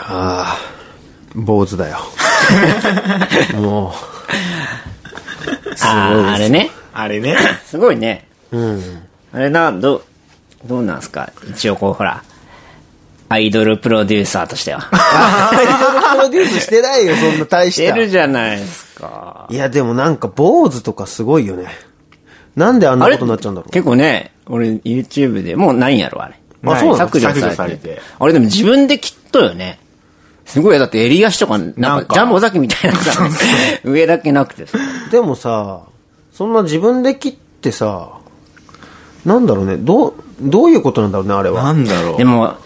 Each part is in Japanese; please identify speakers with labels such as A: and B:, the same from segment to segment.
A: ああ、坊主だよ。も
B: あ
A: ごいで
B: あ、
A: す
B: あれね。
C: あれね。
B: すごいね。
A: う、うん。
B: あれな、どう、どうなんすか一応こう、ほら、アイドルプロデューサーとして は。
A: アイドルプロデュースしてないよ、そんな大し
B: して
A: た。
B: る
A: い
B: じゃないですか。
A: や、でもなんか坊主とかすごいよね。なんであんなことになっちゃうんだろう。
B: 結構ね、俺 YouTube でもうないんやろ、あれ。
A: あそうなの
B: 削除され
C: 削
B: て
C: 除されて
B: あれでも自分で切っとよね。すごいよ、だって襟足とか、なん
C: なん
B: か
C: か
B: ジャンボザキみたいなさ、 上だけなくてさ。
A: でもさ、そんな自分で切ってさ、なんだろうね、どう、どういうことなんだろうね、あれ
C: な
A: は。
C: んだろう
B: で。も、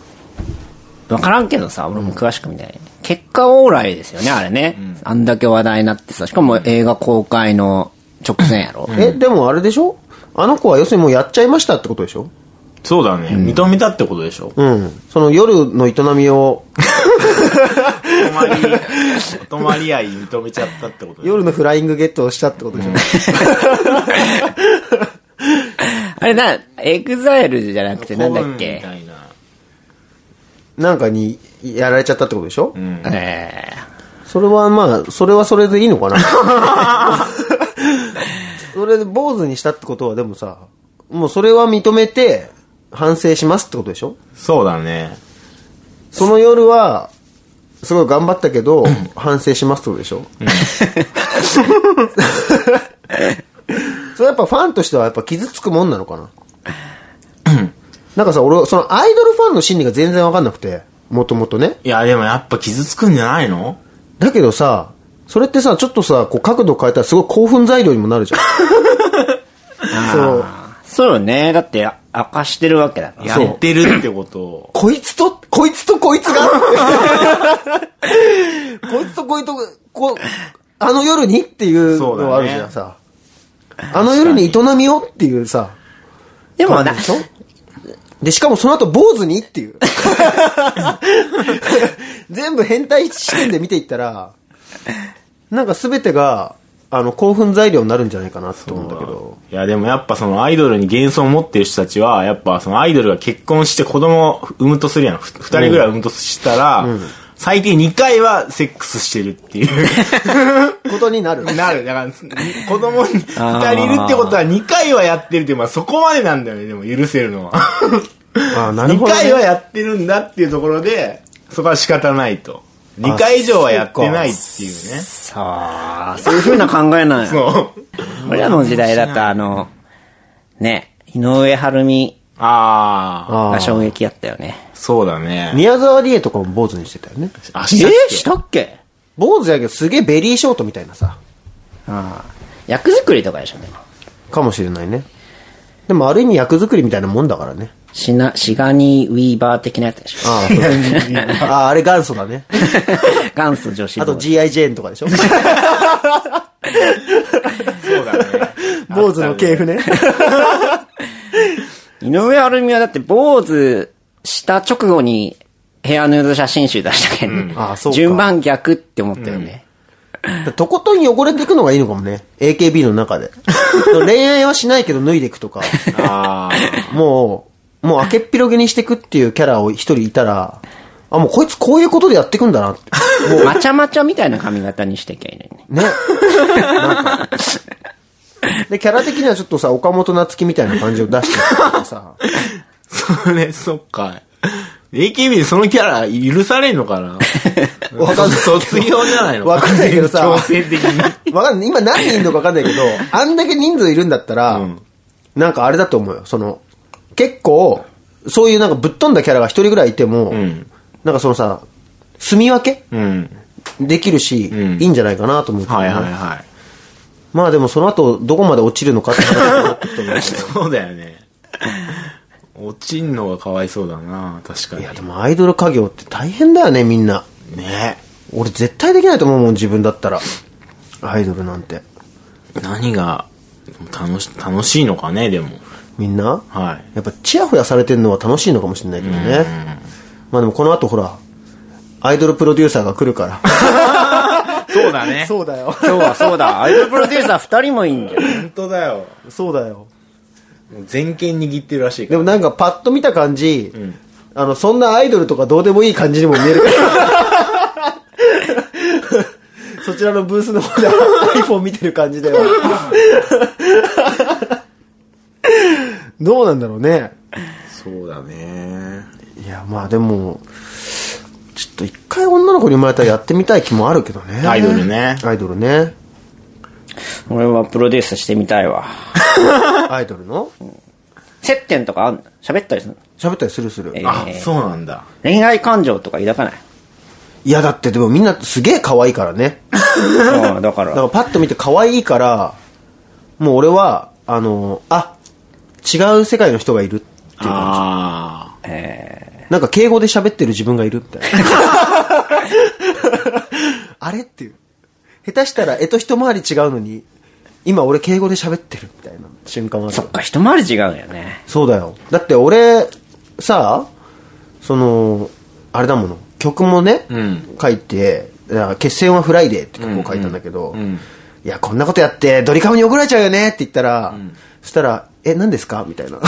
B: わからんけどさ、俺も詳しく見てない。結果オーライですよね、あれね。あんだけ話題になってさ、しかも映画公開の直前やろ。
A: え、でもあれでしょあの子は要するにもうやっちゃいましたってことでしょ
C: そうだね。認めたってことで しょ。
A: うん。その夜の営みを、
C: 泊まり、泊まり合い認めちゃったってことでしょ
A: 夜のフライングゲットをしたってことでしょ、
B: あれな、エグザイルじゃなくてなんだっ
C: み
B: け
C: たいな。
A: なんかにやられちゃったってことでしょ、
C: うん。
B: ええ
A: それはまあ、それはそれでいいのかな それで坊主にしたってことはでもさ、もうそれは認めて反省しますってことでしょ
C: そうだね。
A: その夜は、すごい頑張ったけど、反省しますってことでしょ、 それやっぱファンとしてはやっぱ傷つくもんなのかななんかさ、俺、そのアイドルファンの心理が全然わかんなくて、もともとね。
C: いや、でもやっぱ傷つくんじゃないの
A: だけどさ、それってさ、ちょっとさ、こう角度変えたらすごい興奮材料にもなるじゃん。そう。
B: そうよね。だって、明かしてるわけだから。
C: やってるってことを。
A: こいつと、こいつとこいつ がこいつとこいつと、こ、あの夜にっていうのはあるじゃん
C: そう
A: さ。あの夜に営みをっていうさ。
B: でもな
A: 感じ、でしょで、しかもその後坊主にって いう。全部変態視点で見ていったら、なんか全てが、あの、興奮材料になるんじゃないかなと思うんだけど。
C: いや、でもやっぱそのアイドルに幻想を持ってる人たちは、やっぱそのアイドルが結婚して子供を産むとするやん。ふ二人ぐらい産むとしたら、最低2回はセックスしてるっていう。
A: ことになる。
C: なる。だから、子供に2人いるってことは2回はやってるって、まあそこまでなんだよね、でも許せるのは。
A: ああ、な
C: 2回はやってるんだっていうところで、そこは仕方ないと。2回以上はやってないっていうね。
B: さあ、そういう風な考えなんや。
C: そう。
B: 俺らの時代だと、あの、ね、井上晴美
C: ああ、
A: あ
B: が
A: あ。
B: 衝撃やったよね。
C: そうだね。
A: 宮沢りえとかも坊主にしてたよね。
C: あ、
B: え
C: したっけ
B: したっけ
A: 坊主やけどすげえベリーショートみたいなさ。
B: ああ。役作りとかでしょ、でも。
A: かもしれないね。でもある意味役作りみたいなもんだからね。
B: しな、シガニー・ウィーバー的なやつでしょ。
A: ああそうああ、あれ元祖だね。
B: 元祖女子
A: あと
B: 坊主
A: G.I. ジェーンとかでしょ
C: そうだね。
A: 坊主の系譜ね。
B: 井上晴美はだって坊主した直後にヘアヌード写真集出したけんね。
A: ああそうか
B: 順番逆って思ったよね。
A: とことん汚れていくのがいいのかもね。AKB の中で。恋愛はしないけど脱いでいくと か。
C: あ
A: もう、もう明けっぴろげにしていくっていうキャラを一人いたら、あ、もうこいつこういうことでやっていくんだな って。
B: まちゃまちゃみたいな髪型にしてきゃいいのにね。
A: ね。なんかで、キャラ的にはちょっとさ、岡本夏樹みたいな感じを出してるから さ。
C: あ、それ、そっか。AKB でそのキャラ許されんのかな
A: わかんない
C: 卒業じゃないの
A: わかんないけどさ
C: 強制的に。
A: わかんない。今何人いるのかわかんない けど、あんだけ人数いるんだったら、なんかあれだと思うよ。その、結構、そういうなんかぶっ飛んだキャラが一人ぐらいいても、
C: ん
A: なんかそのさ、住み分
C: うん。
A: けできるし、
C: うん
A: いいんじゃないかなと思って、
C: はいはいはい。
A: まあでもその後、どこまで落ちるのかって話になってくると思う
C: そうだよね。落ちんのがかわいそうだな、確か
A: い
C: に。
A: や、でもアイドル家業って大変だよね、みんな。
C: ね
A: 俺絶対できないと思うもん、自分だったら。アイドルなんて。
C: 何が楽し、楽しいのかね、でも。
A: みんな
C: はい。
A: やっぱチヤホヤされてるのは楽しいのかもしれないけどね。まあでもこの後ほら、アイドルプロデューサーが来るから。
C: そうだね。
A: うだよ。
B: 今日はそうだ、アイドルプロデューサー二人もいいんだよ。
C: 本当だよ。
A: そうだよ。
C: もう全権握ってるらしいか
A: でもなんかパッと見た感じ、あの、そんなアイドルとかどうでもいい感じにも見えるから。そちらのブースの方で iPhone 見てる感じでは。どうなんだろうね。
C: そうだね。
A: いや、まあでも、ちょっと一回女の子に生まれたらやってみたい気もあるけどね。
C: アイドルね
A: アイドルね。
B: 俺はプロデュースしてみたいわ。
A: アイドルの
B: 接点とかあんの喋ったりするの
A: 喋ったりするする。
B: え
C: あ
B: え、ー
C: そうなんだ。
B: 恋愛感情とか抱かない
A: いや、だってでもみんなすげえ可愛いからね。
B: うんだ
A: だか
B: か
A: ら
B: ら、
A: パッと見て可愛いから、もう俺は、あの、あ、違う世界の人がいるっていうか
C: ああ。
A: なんか敬語で喋ってる自分がいるみたい な。あれっていう。下手したら、絵と一回り違うのに、今俺敬語で喋ってるみたいな瞬間はある
B: そっか、一回り違うんよね。
A: そうだよ。だって俺、さ、その、あれだもの、曲もね、
C: ん
A: 書いて、だから決戦はフライデーって曲を書いたんだけど、
C: うんうん
A: いや、こんなことやって、ドリカムに怒られちゃうよねって言ったら、そしたら、え、何ですかみたいな。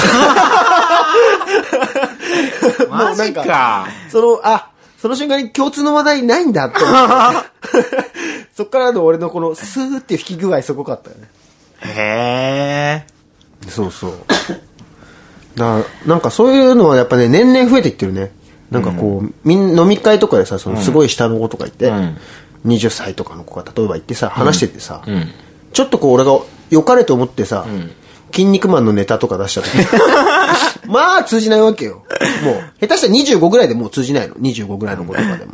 A: も
C: マ
A: うな
C: ジ
A: んか
C: か。
A: その、あ、その瞬間に共通の話題ないんだって 思ってそっからの俺のこの、スーっていう引き具合すごかったよね。
C: へえ。
A: そうそう。 だからなんかそういうのはやっぱね、年々増えていってるね。なんかこう、みん、飲み会とかでさ、そのすごい下の子とかいて、
C: うん
A: 20歳とかの子が例えば行ってさ、話しててさ、
C: ん
A: ちょっとこう俺が良かれと思ってさ、筋肉マンのネタとか出しちゃって。まあ通じないわけよ。もう、下手したら25ぐらいでもう通じないの。25ぐらいの子とかでも。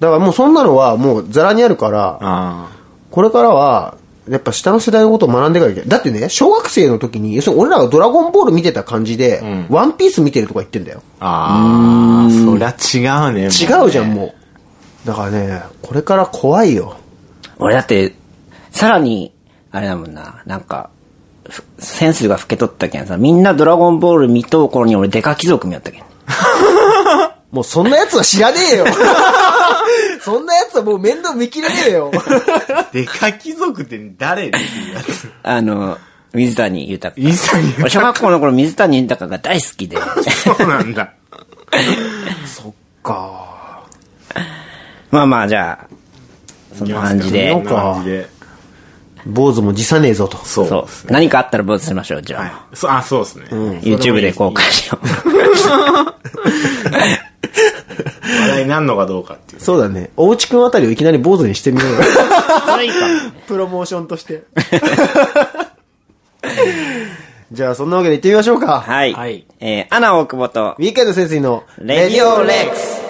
A: だからもうそんなのはもうザラにあるから、
C: あ
A: これからは、やっぱ下の世代のことを学んでいかなきゃいけない。だってね、小学生の時に、要するに俺らがドラゴンボール見てた感じで、ワンピース見てるとか言ってんだよ。
C: あ。ああ。そりゃ違うね。
A: 違うじゃん、もう。だからね、これから怖いよ。
B: 俺だって、さらに、あれだもんな、なんか、ふセンスが老けとったけんさ、みんなドラゴンボール見とう頃に俺デカ貴族見よったけん。
A: もうそんな奴は知らねえ よ。そんな奴はもう面倒見きれねえよ。
C: デカ貴族って誰っていうやつ。
B: あの、水谷豊。
C: 水谷豊
B: 俺小学校の頃水谷豊が大好き で。
C: そうなんだ。
A: か
B: まあまあ、じゃあ、そんな感じで
C: そん。な感じで。
A: 坊主も辞さねえぞと。
C: そう
B: そう
C: です。。
B: 何かあったら坊主しましょう、じゃあ。
C: はい。そあ、そうですね。
B: YouTube で公開しよう。
C: 話題になるのかどうかっていう。
A: そうだね。おうちくんあたりをいきなり坊主にしてみようよ。
B: それいいかもね。
A: プロモーションとして。 じゃあそんなわけで行ってみましょうか。
B: はい。
C: はい
B: えー、アナ大久保と
A: ウ、ィーケンド先生の
B: レディオレックス。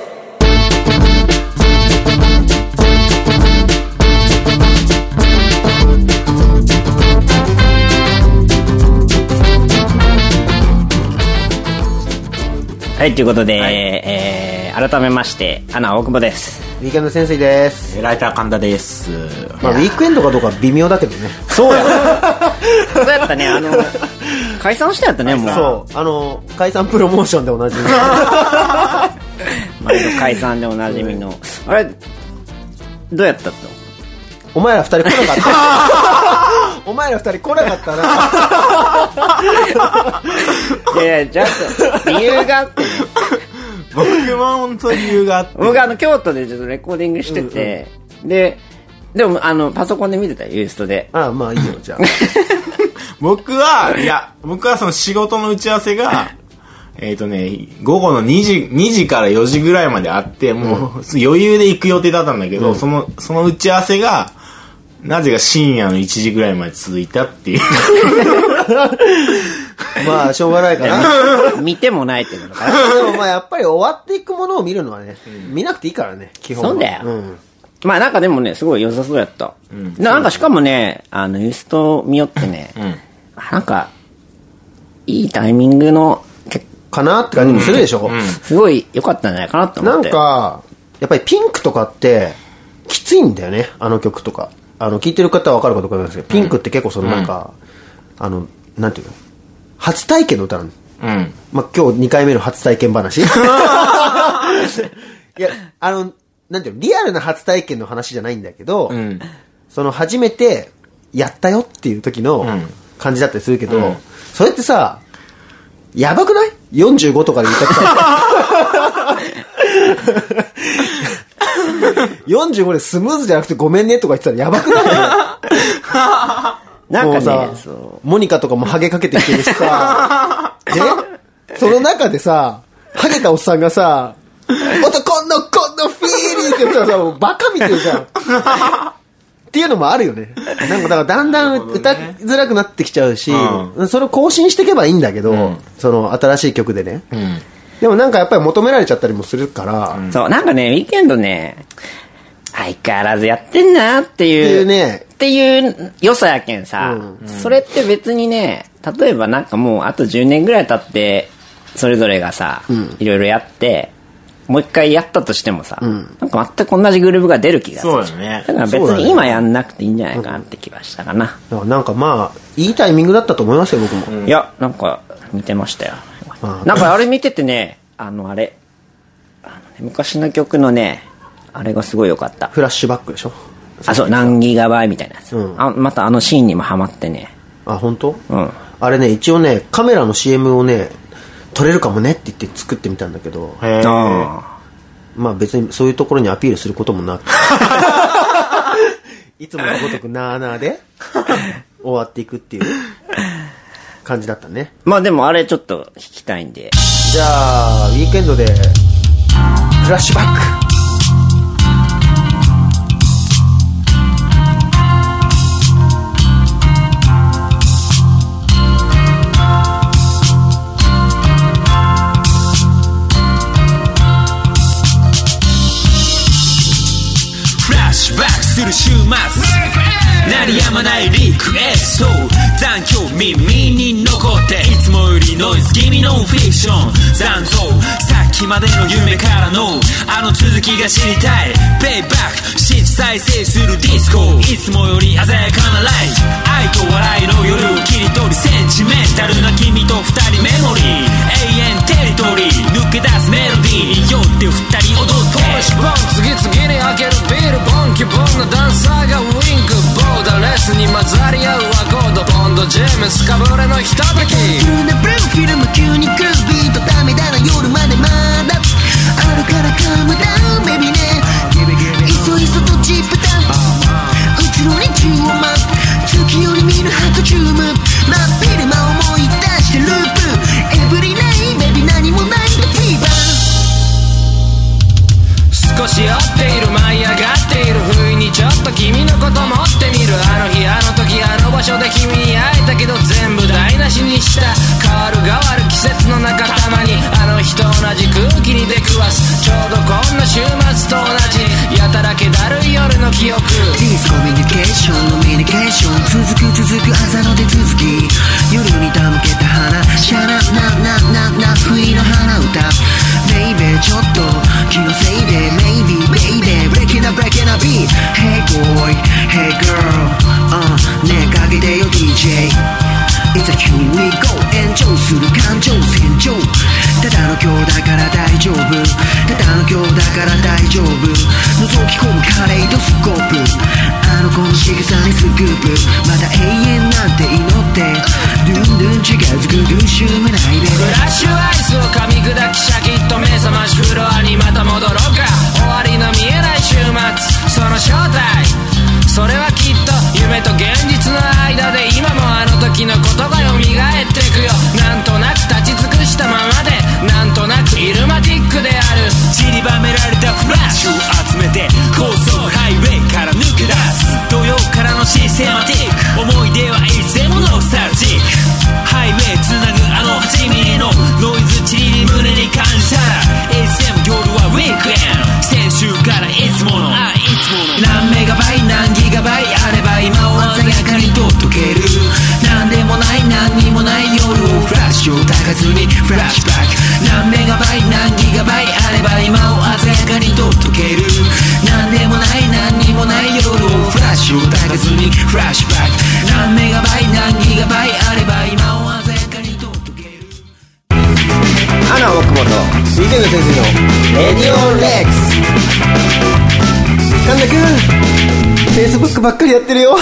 B: はい、ということで、えー改めまして、アナ大久保です。
A: ウィーケンド先生です。
C: ライター神田です。
A: まあ、ウィークエンドかどうか微妙だけどね。
B: そうや そうやったね、あの、解散してやったね、もう。
A: そう。あの、解散プロモーションで同じ。
B: 毎度解散でおなじみの。あれ、どうやったと
A: お前ら二人来なか った。お前ら二人来なかったな。
B: いやいや、じゃあ、理由があってね、
C: 僕も本当に理由があって。
B: 僕あの、京都でちょっとレコーディングしてて、で、でも、あの、パソコンで見てたよ、ユースト で。
A: ああ、まあいいよ、じゃあ。
C: 僕は、いや、僕はその仕事の打ち合わせ が、えっとね、午後の2時、2時から4時ぐらいまであって、もう余裕で行く予定だったんだけど、その、その打ち合わせが、なぜか深夜の1時ぐらいまで続いた っていう。
A: まあ、しょうがないかな。
B: 見てもないってことかな。
A: でもまあ、やっぱり終わっていくものを見るのはね、見なくていいからね、基本は。
B: そうだよ
A: うん。
B: まあなんかでもね、すごい良さそうやった。なんかしかもね、あの、ユースト見よってね、あなんか、いいタイミングの、結
A: かなって感じもするでしょ。
B: すごい良かったんじゃないかなと
A: な
B: 思っ
A: ん
B: て。
A: か、やっぱりピンクとかって、きついんだよね、あの曲とか。あの、聴いてる方はわかるかと思いますけど、ピンクって結構そのなんか、あの、なんていうの初体験の歌なの。
C: うん。
A: まあ、今日2回目の初体験話。 いや、あの、なんていうのリアルな初体験の話じゃないんだけど、
C: ん
A: その初めてやったよっていう時の
C: ん
A: 感じだったりするけど、
C: うん
A: それってさ、やばくない ?45 とかで言ったらさ。 45でスムーズじゃなくてごめんねとか言ってたらやばくない
B: な
A: もう
B: んかねそう
A: さ、モニカとかもハゲかけてきてるし さ、ねその中でさ、ハゲたおっさんがさ、男の子のフィーリーって言ったらさ、もうバカみてるじゃん。っていうのもあるよね。なんかだからだんだん歌いづらくなってきちゃうし、
C: う
A: それを更新していけばいいんだけど、その新しい曲でね。でもなんかやっぱり求められちゃったりもするから、っ
B: そう、なんかね、ウィーケンドね、相変わらずやってんなって
A: て
B: い、
A: いううね、
B: っていう良さやけんさ、それって別にね、例えばなんかもうあと10年ぐらい経って、それぞれがさ、いろいろやって、もう一回やったとしてもさ、なんか全く同じグループが出る気がする。
C: そうだよね
B: だから別に今やんなくていいんじゃないかなって気がしたかな。
A: だからなんかまあ、いいタイミングだったと思いますよ、僕も。
B: いや、なんか似てましたよ。
A: あ
B: なんかあれ見ててね、あのあれ、あのね昔の曲のね、あれがすごい良かった。
A: フラッシュバックでしょ。
B: あ、そう、何ギガバイみたいなやつ。
A: うん
B: あまたあのシーンにもハマってね。
A: あ、本当？
B: うん。
A: あれね、一応ね、カメラの CM をね、撮れるかもねって言って作ってみたんだけど、
C: へー
B: あ
A: まあ別にそういうところにアピールすることも なく、いつものごとくなーなー で終わっていくっていう感じだったね。
B: まあでもあれちょっと弾きたいんで。
A: じゃあ、ウィークエンドで、フラッシュバック
D: フラッシュバックする週末鳴りやまないリクエスト残響耳に残っていつもよりノイズ気味のフィクション残像さっきまでの夢からのあの続きが知りたいペイバックシーチ再生するディスコいつもより鮮やかなライト愛と笑いの夜を切り取りセンチメンタルな君と二人メモリー永遠テリトリー抜け出すメロディーによって二人踊って
E: シボン次々に開けるビールボンキュボンのダンサーがウインクボーダーレスに混ざり合うアコードボンドジェームスかぶれのひととき
F: 急なブルーフィルム急にグービーとダメだな夜までまだあるからカムダウンベビーねいそいそとチップダウンうつろに中を待つ月より見るハトチューム真っ昼間思い出してループエブリナイベビー何もないのティーバー
E: 少し酔っている舞い上がっている不意にちょっと君のこと持ってみるあの日あの時あの場所で君に会えたけど全部台無しにした変わる変わる季節の中たまにあの日と同じ空気に出くわすちょうどこんな週末と同じやたらけだるい夜の記憶
F: ディスコミュニケーションのミュニケーション続く続く朝の手続き夜にたむけた花シャラなななな不意の花歌ベイベーちょっと気のせいで Maybe baby breaking up breaking up beat Hey boy Hey girl あ、uh, ねえかけてよ DJ It's a tune we go 炎上する感情戦場ただの今日だから大丈夫ただの今日だから大丈夫覗き込むカレイドスコープあの子の仕草にスクープまだ永遠なんて祈ってドゥンドゥン違うズグドゥンシュームないで
E: フラッシュアイスを噛み砕きシャキッと目覚ましフロアにまた戻ろうか終わりの見えない週末その正体それはきっと夢と現実の間で今もあの時の言葉よみがえってくよなんとなく立ち尽くしたままでなんとなくイルマティックである
D: 散りばめられたフラッシュを集めて高速ハイウェイから抜け出す土曜からのシステマティック思い出はいつでもノスタルジックハイウェイつなぐあの8ミリのノイズチリに胸に感じた SM 夜はウィークエンド先週からいつものあいつもの
F: 何メガバイ何ギガバイあれば今を鮮やかにとっとける何でもない何にもない夜をフラッシュを抱かずにフラッシュバック何メガバイ何ギガバイあれば今を鮮やかにとっとける何でもない何にもない夜をフラッシュを抱かずにフラッシュバック何メガバイ何ギガバイあれば今を鮮やかにとっとける
B: あら、僕もと。
A: ウィークエンド先生のレディオンレックス神田くんフェイスブックばっかりやってるよ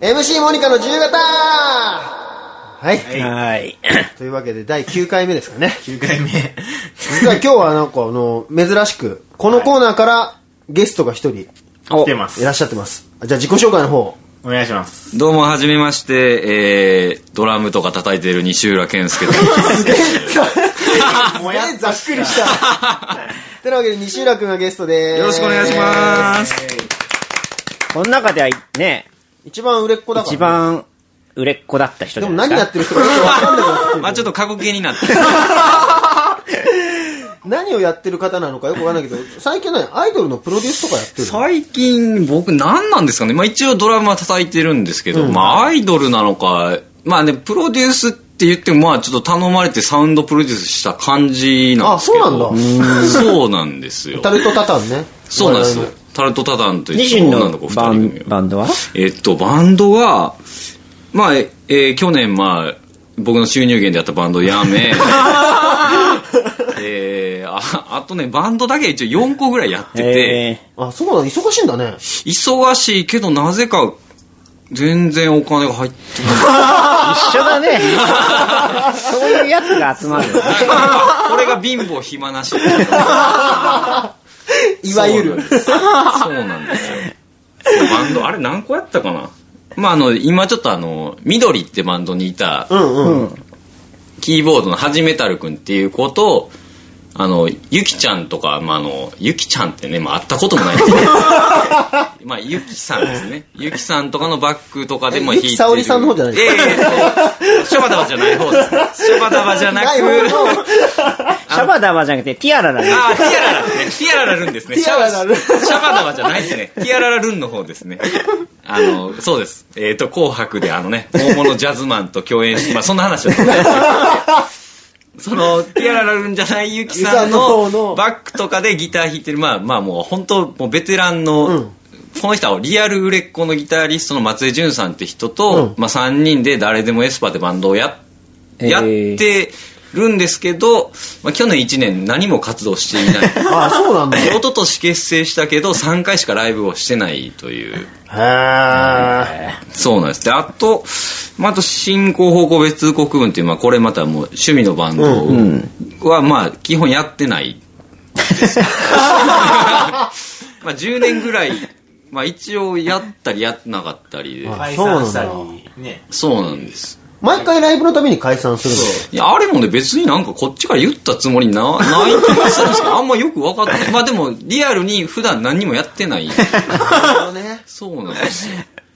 A: MC モニカの自由形ははい。
B: はい。
A: というわけで、第9回目ですかね。
C: 9回目。
A: 実は今日はなんか、あの、珍しく、このコーナーからゲストが一人
B: お
C: 来てま
A: いら
C: す。
A: っしゃってます。あじゃあ自己紹介の方。
C: お願いします。
G: どうも、はじめまして、えー、ドラムとか叩いてる西浦健介です。
A: すげえ、もやざっくりした。てなわけで、西浦くんがゲストでーす。
G: よろしくお願いします。
B: この中ではね、
A: 一番売れっ子だから。
B: 一。番売れっ子だった人
A: で
B: じ
A: も
B: ゃない
A: 何
B: です
A: やってる人か
B: か。
A: よくわかんなくなってる
G: まあちょっと過去形になって。
A: 何をやってる方なのかよくわかんないけど、最近はね、アイドルのプロデュースとかやってるの
G: 最近、僕何なんですかね。まあ一応ドラムは叩いてるんですけど、まあアイドルなのか、まあね、プロデュースって言っても、まあちょっと頼まれてサウンドプロデュースした感じなんですけど。
A: あそう
G: なんだ。そうなんですよ
A: タ。ルトタタンね。
G: そうなんです
A: 我
G: よ
A: 々の。
G: タルトタタンと一
B: 自
G: 緒
B: 身
G: 女
B: の
G: の子二
B: バ
G: 人
B: ン
G: 組
B: バンドは
G: えっと、バンドは、まあ、えー去年、まあ、僕の収入源でやったバンドをやめ、えーあ、あとね、バンドだけ一応4個ぐらいやってて、
B: え
A: あ、そうなんだ。忙しいんだね。
G: 忙しいけど、なぜか、全然お金が入って
B: ー、一緒だね。そういうやつが集まるよね。
G: ない。これが貧乏暇な
A: い
G: し。
A: わゆ
G: そうなん
A: る。
G: ですそうなんですよ。バンド、あれ何個やったかなまあ、あの、今ちょっとあの、緑ってバンドにいた、
A: うんうん。
G: キーボードのはじめたるくんっていう子と、あの、ゆきちゃんとか、まあ、あの、ゆきちゃんってね、まあ、会ったこ ともないですけど、まあ、ゆきさんですね。ゆきさんとかのバックとかでも
A: え
G: 弾いてる。
A: ゆきさおりさんの方じゃないです
G: か。ええシャバダバじゃない方ですね。シャバダバじゃなく、
A: ない方の、
B: シャバダバじゃなくてティアラだね。
G: ああ、ティアララルンね。ティアララルンですね。
A: ティアララルン
G: シャバシャバダバじゃないですね。ティアララルンの方ですね。あの、そうです。えっ、と、紅白であのね、大物ジャズマンと共演して、まあ、そんな話を。その、ティアララルンじゃないゆきさん
A: ゆきさんの方の
G: のバックとかでギター弾いてる、まあまあもう本当、もうベテランの、この人はリアル売れっ子のギタリストの松江潤さんって人と、まあ3人で誰でもエスパーでバンドをやっ
B: えー
G: やってるんですけど、まあ、去年1年何も活動していない。
A: あ、そう なんだ。
G: 一昨年結成したけど3回しかライブをしてないという
A: へー。
G: そうなんですであと、まあ、あと進行方向別通告文っていう、まあ、これまたもう趣味のバンドは、まあ基本やってないですまあ10年ぐらい、まあ、一応やったりやってなかったりで
C: 解
A: そうなんだ
C: 散したり、ね。
G: そうなんです
A: 毎回ライブのために解散するの。
G: いや、あれもね、別になんかこっちから言ったつもりな、ない気がするんですけど、あんまよく分かってない。まあでも、リアルに普段何にもやってない。
A: なるほど ね。
G: そうなんですよ。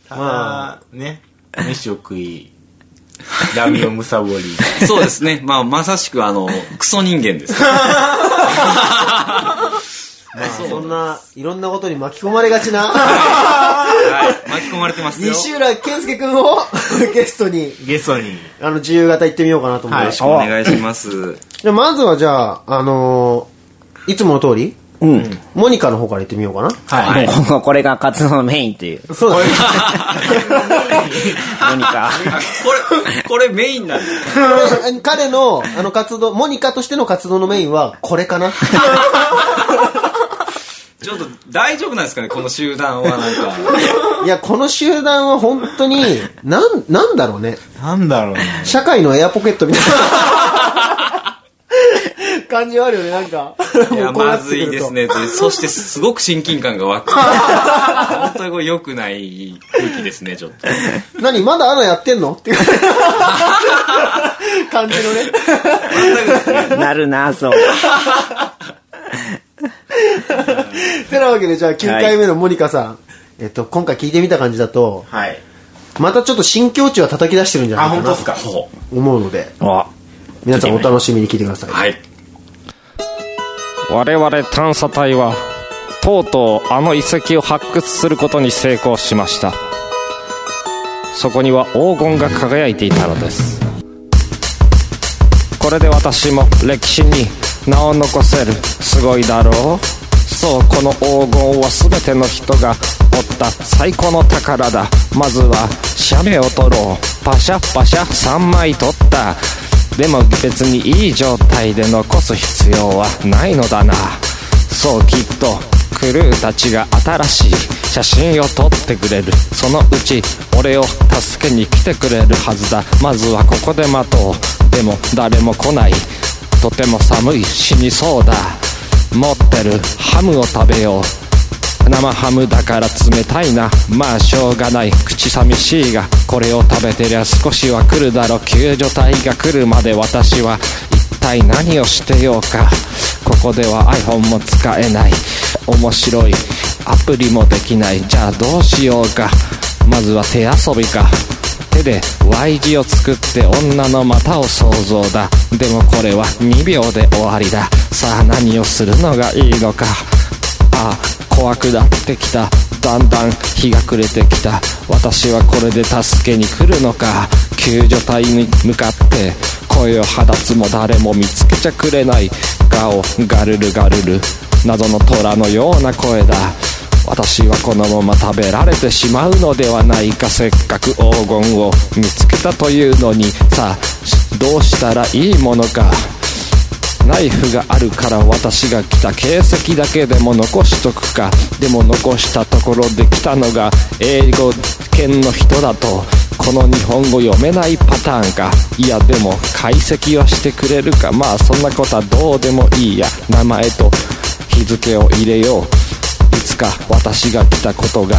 C: ただ、ね。飯を食い、ラミをむさぼり。
G: そうですね。まあ、まさしくあの、クソ人間です。
A: まあ、そんな、いろんなことに巻き込まれがちな、
G: はい。巻き込まれてますよ。
A: 西浦健介くんを ゲストに、
C: ゲストに。
A: あの、自由形行ってみようかなと思い
C: は
A: ま
C: い
A: す。
G: お願いします。
A: じゃあまずはじゃあ、あのーいつもの通り、
B: うん。
A: モニカの方から行ってみようかな。
C: はい。
B: もうこれが活動のメインっていう。
A: そうだね。
B: 何 か。
G: これ、 これメインなんですか
A: これ 彼の、あの、活動、モニカとしての活動のメインは、これかな。
G: ちょっと大丈夫なんですかねこの集団はなんか。
A: いや、この集団は本当に、なん、なんだろうね。
C: なんだろうね。
A: 社会のエアポケットみたいな感じはあるよね、なんか。
G: いや、
A: もうこうな
G: ま
A: って
G: ず
A: くる
G: い
A: と
G: ですね。でそして、すごく親近感が湧く。本当にこれ良くない空気ですね、ちょっと。
A: 何まだアナやってんのっていう感じのね。
B: なるな、そう。
A: てなわけで、じゃあ9回目のモニカさん。えっと、今回聞いてみた感じだと、
C: はい。
A: またちょっと新境地は叩き出してるんじゃな
C: あ、
A: いか
C: 本当
A: な
C: ですか。
A: と思うので、
B: あ
A: 皆さんお楽しみに聞いてください。
G: はい。
H: 我々探査隊はとうとうあの遺跡を発掘することに成功しましたそこには黄金が輝いていたのですこれで私も歴史に名を残せるすごいだろうそうこの黄金は全ての人が追った最高の宝だまずは写メを撮ろうパシャパシャ3枚撮ったでも別にいい状態で残す必要はないのだなそうきっとクルーたちが新しい写真を撮ってくれるそのうち俺を助けに来てくれるはずだまずはここで待とうでも誰も来ないとても寒い死にそうだ持ってるハムを食べよう生ハムだから冷たいなまあしょうがない口寂しいがこれを食べてりゃ少しは来るだろう救助隊が来るまで私は一体何をしてようかここでは iPhone も使えない面白いアプリもできないじゃあどうしようかまずは手遊びか手で Y 字を作って女の股を想像だでもこれは2秒で終わりださあ何をするのがいいのかああ怖くなってきただんだん日が暮れてきた私はこれで助けに来るのか救助隊に向かって声を放つも誰も見つけちゃくれないガオガルルガルル謎の虎のような声だ私はこのまま食べられてしまうのではないかせっかく黄金を見つけたというのにさあどうしたらいいものかナイフがあるから私が来た形跡だけでも残しとくかでも残したところで来たのが英語圏の人だとこの日本語読めないパターンかいやでも解析はしてくれるかまあそんなことはどうでもいいや名前と日付を入れよういつか私が来たことが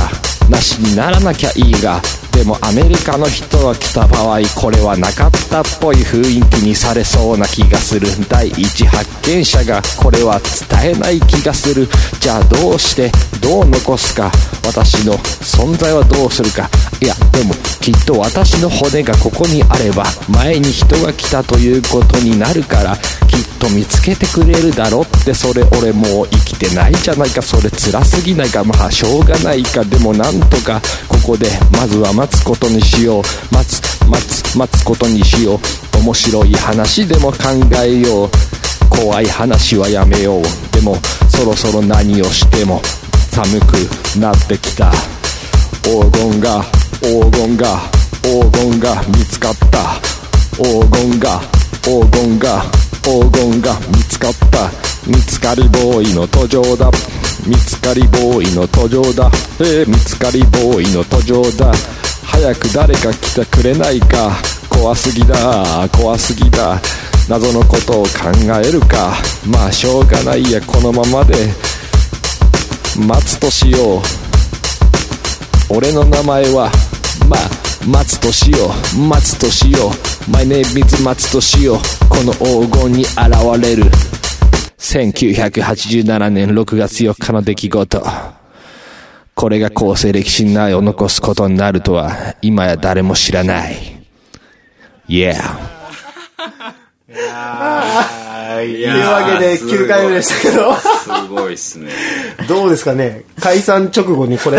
H: なしにならなきゃいいがでもアメリカの人が来た場合これはなかったっぽい雰囲気にされそうな気がする第一発見者がこれは伝えない気がするじゃあどうしてどう残すか私の存在はどうするかいやでもきっと私の骨がここにあれば前に人が来たということになるからきっと見つけてくれるだろってそれ俺もう生きてないじゃないかそれ辛すぎないかまあしょうがないかでもなんとかここでまずは待つことにしよう待つ待つ待つことにしよう面白い話でも考えよう怖い話はやめようでもそろそろ何をしても寒くなってきた黄金が黄金が黄金が見つかった黄金が黄金が黄金が見つかった見つかりボーイの途上だ見つかりボーイの途上だえー見つかりボーイの途上だ早く誰か来てくれないか怖すぎだ怖すぎだ謎のことを考えるかまあしょうがないやこのままで待つとしよう俺の名前はまあ松と塩松と塩 My name is 松と塩この黄金に現れる1987年6月4日の出来事これが後世歴史に名を残すことになるとは今や誰も知らない Yeah
C: はい。
A: と
C: い
A: いうわけで9回目でしたけど、
G: すごいっすね。
A: どうですかね解散直後にこれ。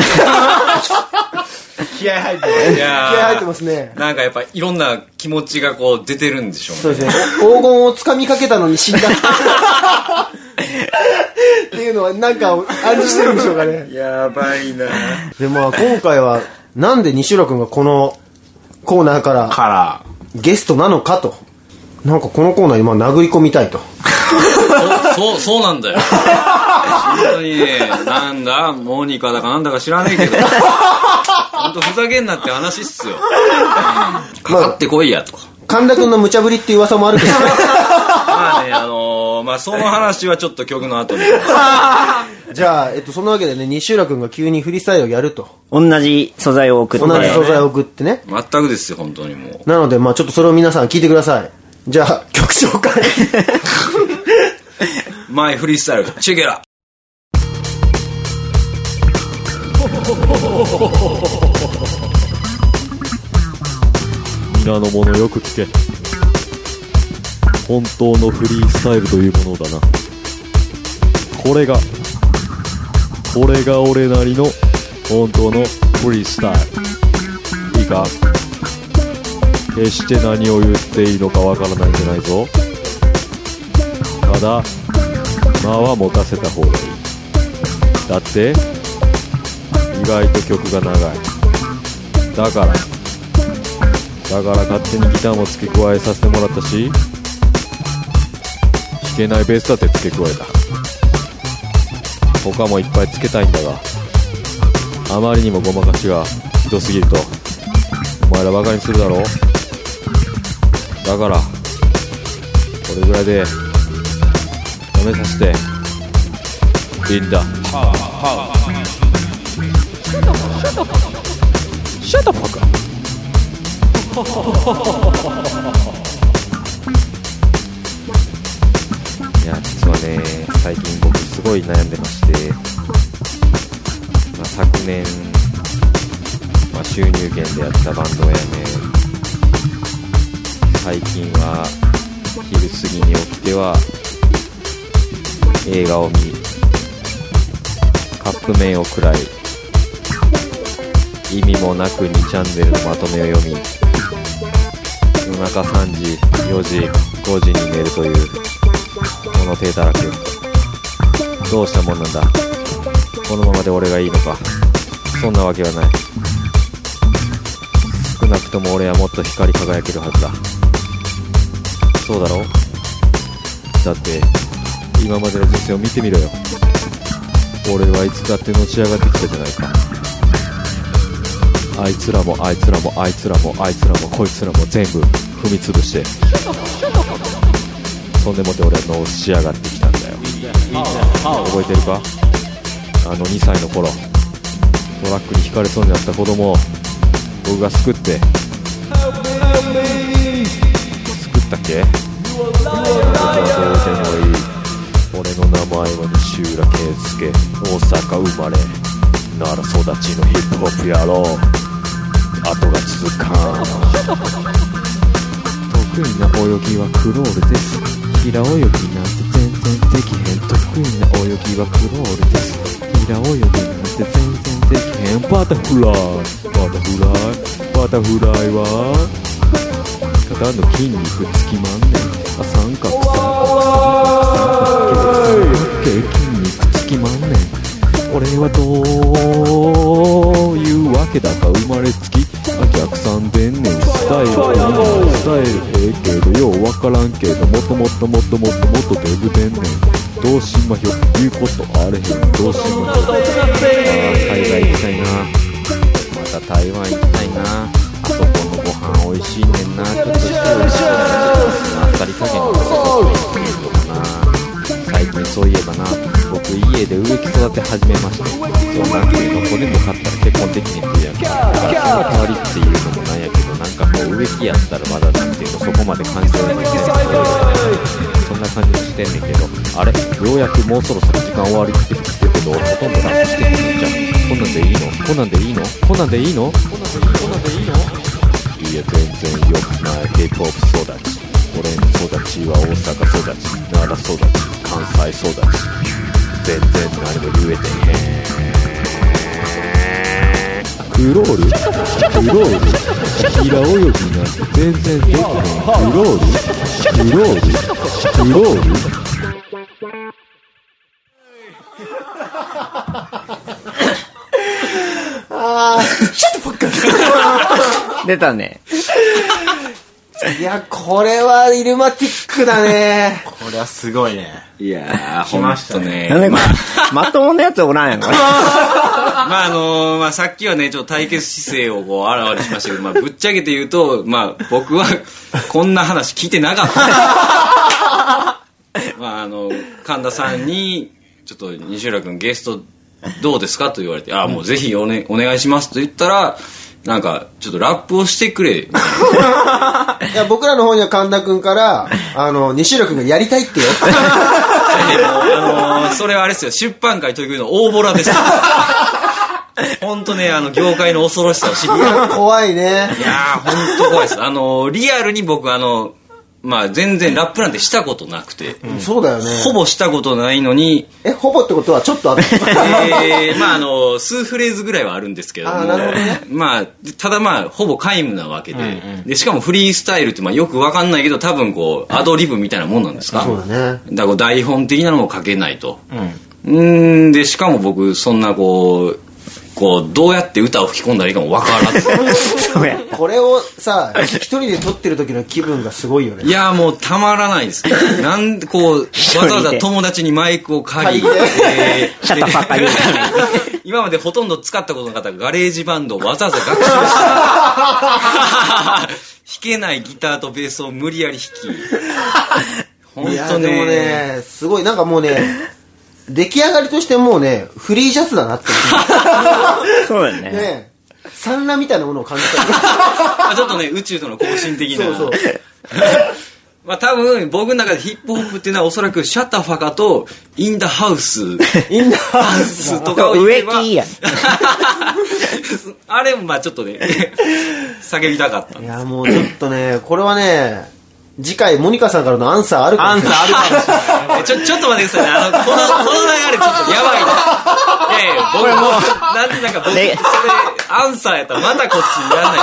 C: 気合入ってる。
G: いや
A: 気合入ってますね。
G: なんかやっぱいろんな気持ちがこう出てるんでしょ
A: そうう
G: ね。
A: ですね。お黄金を掴みかけたのに死んだ。 っていうのはなんか暗示してるんでしょうかね。
G: やばいな
A: で、まあ今回はなんで西浦くんがこのコーナーから
C: から、
A: ゲストなのかと。なんかこのコーナー今殴り込みたいと。
G: そう、そうなんだよ。本当にね、なんだ、モニカだかなんだか知らねえけど。本当ふざけんなって話っすよ。かかってこいやと。
A: 神田くんの無茶ぶりっていう噂もあ るけど、
G: まあね、あのーまあその話はちょっと曲の後に。
A: じゃあ、えっと、そのわけでね、西浦くんが急にフリースタイルをやると。
B: 同じ素材を送って
A: 同じ素材を送ってね。
G: 全くですよ、本当にもう。
A: なので、まあちょっとそれを皆さん聞いてください。じゃ あ、曲紹介。
G: マイフリースタイル、チェケラ。
I: 皆のものよく聞け本当のフリースタイルというものだなこれがこれが俺なりの本当のフリースタイルいいか決して何を言っていいのかわからないんじゃないぞただ間は持たせた方がいいだって意外と曲が長いだからだから勝手にギターも付け加えさせてもらったし弾けないベースだって付け加えた他もいっぱい付けたいんだがあまりにもごまかしがひどすぎるとお前らバカにするだろだからこれぐらいでやめさせていいんだいや実はね最近僕すごい悩んでまして、まあ、昨年、まあ、収入源でやってたバンドをやめ最近は昼過ぎに起きては映画を見カップ麺を食らい意味もなく2チャンネルのまとめを読み夜中3時4時5時に寝るというこの手たらくどうしたもんなんだこのままで俺がいいのかそんなわけはない少なくとも俺はもっと光り輝けるはずだそうだろだって今までの人生を見てみろよ俺はいつだってのち上がってきたじゃないかあいつらもあいつらもあいつらもあいつらもこいつらも全部踏み潰してそんでもって俺はのし上がってきたんだよ覚えてるかあの2歳の頃トラックにひかれそうになった子供を僕が救って救ったっけ僕はどうでもいい俺の名前は西浦圭介大阪生まれなら育ちのヒップホップ野郎後が続かん得意な泳ぎはクロールです平泳ぎなんて全然できへん得意な泳ぎはクロールです平泳ぎなんて全然できへんバタフライバタフライバタフライは肩の筋肉つきまんねんあ三角三角三角三角三角筋肉つきまんねん俺はどういうわけだか生まれつきあ逆算でんねんスタイルはスタイルええけどようわからんけどもっともっともっともっともっとデブでんねんどうしまひょ言うことあれへんどうしまひょあー海外行きたいなまた台湾行きたいなあそこのご飯美味しいねんなちょっとして美味しいねんなあっさり加減のことかな最近そういえばな僕家で植木育て始めましたそうなんていうの子でも買ったら結婚できねえって言うやんかだからその代わりっていうのもなんやけどなんかこう植木やったらまだなんていうのそこまで感じられないねそんな感じもしてんねんけどあれようやくもうそろそろ時間終わりって言ってるけど俺ほとんどラップしてくるんじゃんこんなんでいいのこんなんでいいのこんなんでいいのこんなんでいいのいや全然良くない K-POP 育ち俺の育ちは大阪育ち奈良育ち関西育ち全然何も言えてへんクロールクロール平泳ぎなんて全然できへんクロールクロールクロール
B: 出たね。
A: いや、これはイルマティックだね。
C: これはすごいね。
G: いやー、
C: 来
G: ほん
C: ました
G: と
C: ね
G: ね。
B: なんでこれ、まともなやつおらんやん、これ。
G: まああのーまあ、さっきはねちょっと対決姿勢をこうあらわにしましたけど、まあ、ぶっちゃけて言うと、まあ、僕はこんな話聞いてなかったまああの神田さんにちょっと西浦君ゲストどうですかと言われて「あもうぜひお,、ね、お願いします」と言ったらなんかちょっとラップをしてくれ
A: いや、僕らの方には神田くんから、あの、西浦くんがやりたい ってよ。
G: でも、あのーそれはあれですよ、出版会というの大ボラです。本当ね、あの、業界の恐ろしさを知り、いや
A: 怖いね。
G: ー、本当怖いです。あのーリアルに僕、あのまあ、全然ラップなんてしたことなくて、
A: そうだよね。
G: ほぼしたことないのに、
A: え、ほぼってことはちょっとあ る。
G: えーまあ、あの、数フレーズぐらいはあるんですけれども、
A: あーなるほどね
G: まあ、ただまあ、ほぼ皆無なわけで、で、しかもフリースタイルって、まあ、よくわかんないけど、多分こう、アドリブみたいなもんなんですか
A: そうだね。
G: だからこう台本的なのも書けないと。うん。んで、しかも僕、そんなこう、こう、どうやって歌を吹き込んだらいいかもわからん。
B: そうや。
A: これをさ、一人で撮ってる時の気分がすごいよ
G: い
A: ね。
G: や、もうたまらないです。 なんで、こう、
B: 人で
G: わざわざ友達にマイクを借り、
A: 借り
G: えー
B: シャッターパッカー言うために
G: 今までほとんど使ったことのなかったガレージバンドをわざわざ学習した。弾けないギターとベースを無理やり弾き。本
A: いや、
G: 当
A: でも
G: ね。
A: ね、すごい、なんかもうね、出来上がりとしてもうね、フリージャズだな って。
B: そうだよね。
A: ね産卵みたいなものを感じ
G: あちょっとね、宇宙との交信的
A: た
G: な。
A: よ。そうそう。
G: まあ多分、僕の中でヒップホップっていうのはおそらくシャッターファカとインダハウス。
A: インナー
G: ハウスとかを言えば
B: 植木やん
G: あれもまあちょっとね、叫びたかった
A: い。や、もうちょっとね、これはね、次回、モニカさんからのアンサーあるか
C: ア
A: も
C: ン
A: しれ
C: サ
A: ない。
C: ーあるかもしれない。
G: えちょ、ちょっと待ってくださいね。あの、この、この流れちょっとやばいな。いやいや、僕も、なんでなんか僕、それ
B: ね、
G: アンサーやったらまたこっちにやらない。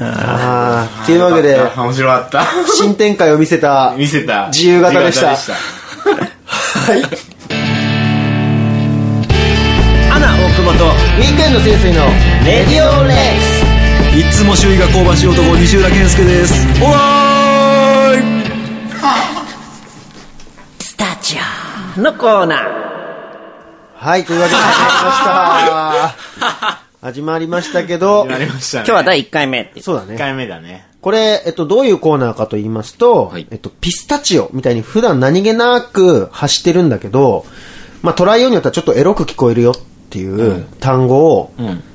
A: あーというわけで、
C: 面白かった。
A: 新展開を見せた、
C: 見せた。
A: 自由形でした
C: 自由
B: アナ大久保と
A: ウィークエンド先生の、レディオレイス
G: いつも周囲が香ばしい男、西浦健介です。ほらーい
E: スタジオ
B: のコーナー。
A: はい、というわけで始まりました。始まりましたけど、
C: やりましたね。
B: 今日は第1回目っていう。
A: そうだ
C: 1
A: ね。
C: 回目だね。
A: これ、えっと、どういうコーナーかと言いますと、
G: はい
A: えっと、ピスタチオみたいに普段何気なく走ってるんだけど、まあ、トライオンによってはちょっとエロく聞こえるよっていう単語を、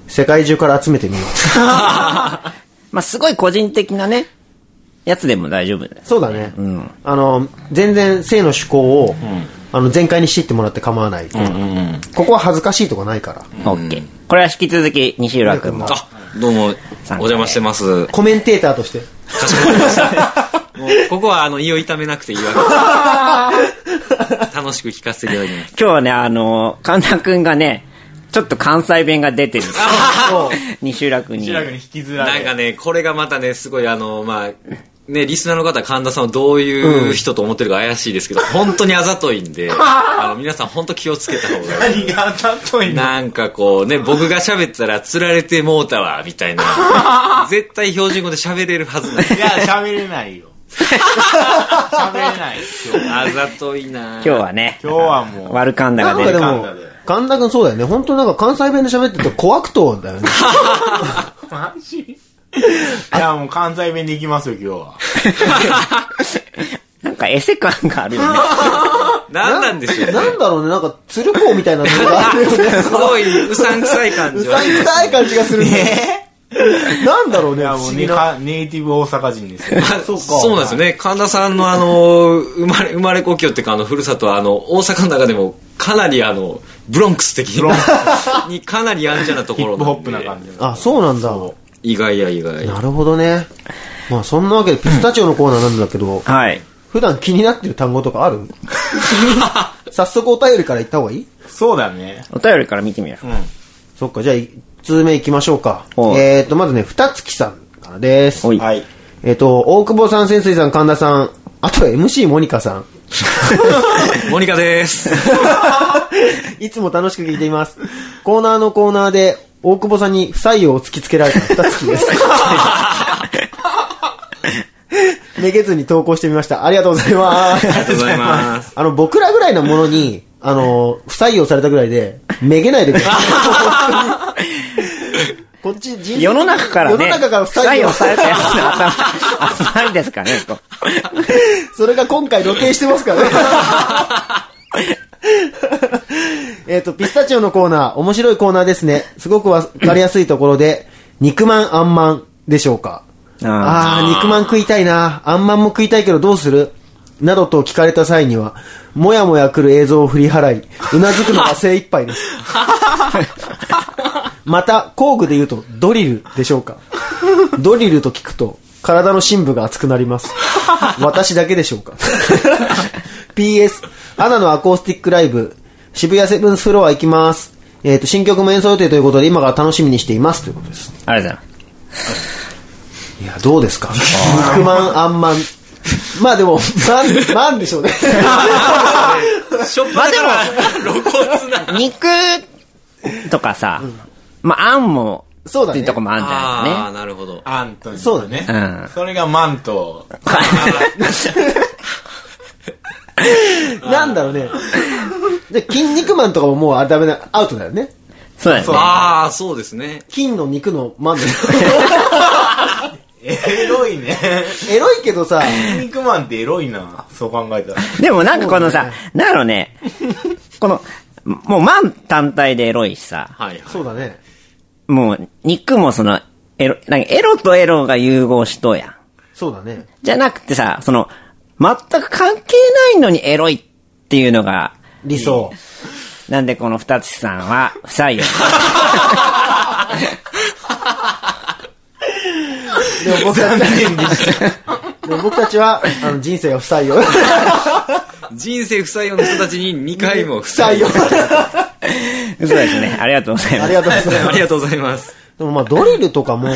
A: 世界中から集めてみよ う。
B: まあ、すごい個人的なね、やつでも大丈夫です。
A: そうだね。
B: ん
A: あの、全然性の趣向を、あの、全開にしていってもらって構わない。ここは恥ずかしいとこないから。
B: オッケー。これは引き続き、西浦君も。
G: あ、どうも、お邪魔してます。
A: コメンテーターとして。
G: かしこまりました。もう、ここは、あの、胃を痛めなくていいわけ楽しく聞かせていただきます。
B: 今日はね、あの、神田君がね、ちょっと関西弁が出てる。 西浦君に
C: 白。くに引きずられ
G: なんかね、これがまたね、すごいあの、まあ、ね、リスナーの方、神田さんをどういう人と思ってるか怪しいです けど、本当にあざといんで、あの、皆さん本当気をつけた方がいい。
C: 何があざといな。
G: なんかこうね、僕が喋ったら釣られてもうたわ、みた いな。絶対標準語で喋れるはずない。
C: いや、喋れないよ。喋れない。今日
G: あざといな
B: 今日はね、
C: 今日はもう。
B: 悪神田
A: な
B: が
A: ん
B: 出
A: か
B: る
A: で
B: か
A: も、神田君そうだよね。本当なんか関西弁で喋ってて怖くとだよね。
C: マジいや、もう関西弁で行きますよ、今日は。
B: ら。なんかエセ感があるよね。
G: 何 なんでしょうね。
A: なんだろうね、なんか、鶴光みたいなのがあるよね。
G: すごいうさんくさい感
A: う
G: じ
A: さ
G: は
A: ん。くさい感じがするね。なんだろうね、不
C: いや、も
A: 思
C: う
A: 議
C: ね
A: な。
C: かネイティブ大阪人ですよ。
G: そうなんですよね。神田さんのあの、生まれ、生まれ故郷っていうか、あの、ふるさとは、あの、大阪の中でも、かなりあの、ブロンクス的な、にかなりやんちゃなとこ
C: ヒ
G: ろ
C: ップホップ
G: ん
C: な
G: で
C: 感じの。
A: あ、そうなんだ。
G: 意外や意外。
A: なるほどね。まあ、そんなわけで、ピスタチオのコーナーなんだけど、
B: はい。
A: 普段気になってる単語とかある早速お便りから言った方がいい
C: そうだね。
B: お便りから見てみよう。
A: そっか、じゃあ、1通目行きましょうか。
B: おう
A: えーと、まずね、ふたつきさんからです。
B: おい。
C: はい。
A: えっと、大久保さん、潜水さん、神田さん、あとは MC モニカさん。
G: モニカです。
A: いつも楽しく聞いています。コーナーのコーナーで、大久保さんに不採用を突きつけられた二月です。 めげずに投稿してみました。ありがとうございます。ありが。
G: とうございます
A: あの、僕らぐらいのものに、あの、不採用されたぐらいで、めげないでくださ い。こっち人生
B: 世の中からね、
A: 世の中から
B: 不
A: 不
B: 採
A: 採
B: 用
A: 用
B: されたやつの頭、集まりですかね、と。
A: それが今回露呈してますからね。 えっと、ピスタチオのコーナー、面白いコーナーですね。すごくわかりやすいところで、肉まん、あんまんでしょうか。
B: あ
A: あー、肉まん食いたいな。あんまんも食いたいけどどうするなどと聞かれた際には、もやもや来る映像を振り払い、うなずくのが精一杯です。また、工具で言うと、ドリルでしょうか。ドリルと聞くと、体の深部が熱くなります。私だけでしょうか。PS、アナのアコースティックライブ、渋谷セブンスフロア行きます。えっ、と、新曲も演奏予定ということで、今から楽しみにしています。ということです。
B: ありがとうござい
A: いや、どうですか 肉まん、あんまん。まあでも、まん、まんでしょうね。
G: しょっぱなから露骨 な。
B: 肉とかさ、まあ、あんも、
A: そうだ
B: って
A: ね
B: いうとこもあるんじ
G: ああ、
B: ゃ
G: なるほど。
C: あんという
A: そうだね
B: うん
C: それがマンと、
A: なんだろうね。で、筋肉マンとかももうあれダメだ、アウトだよね。
B: ないのね。そうだよね。
G: ああ、そうですね。
A: 筋の肉のマン だよ
C: エロいね。
A: エロいけどさ、
C: 筋肉マンってエロいな。そう考えたら。
B: でもなんかこのさ、なんだろうね、この、もうマン単体でエロいしさ、
G: はいはい。
A: そうだね。
B: もう肉もその、エロ、なんかエロとエロが融合しとうやん。
A: そうだね。
B: じゃなくてさ、その、全く関係ないのにエロいっていうのが、
A: 理想。
B: なんでこの二つさんは不採用。
A: でも僕たちでも僕たちは、あの、人生が不採用。
G: 人生不採用の人たちに2回も 不
A: 不採
G: 採
A: 用
G: 用。。
B: 嘘ですね。ありがとうございま
A: あ
B: す
A: り。がとうございま
G: あ
A: す
G: り。がとうございます。
A: でもまあ、ドリルとか も、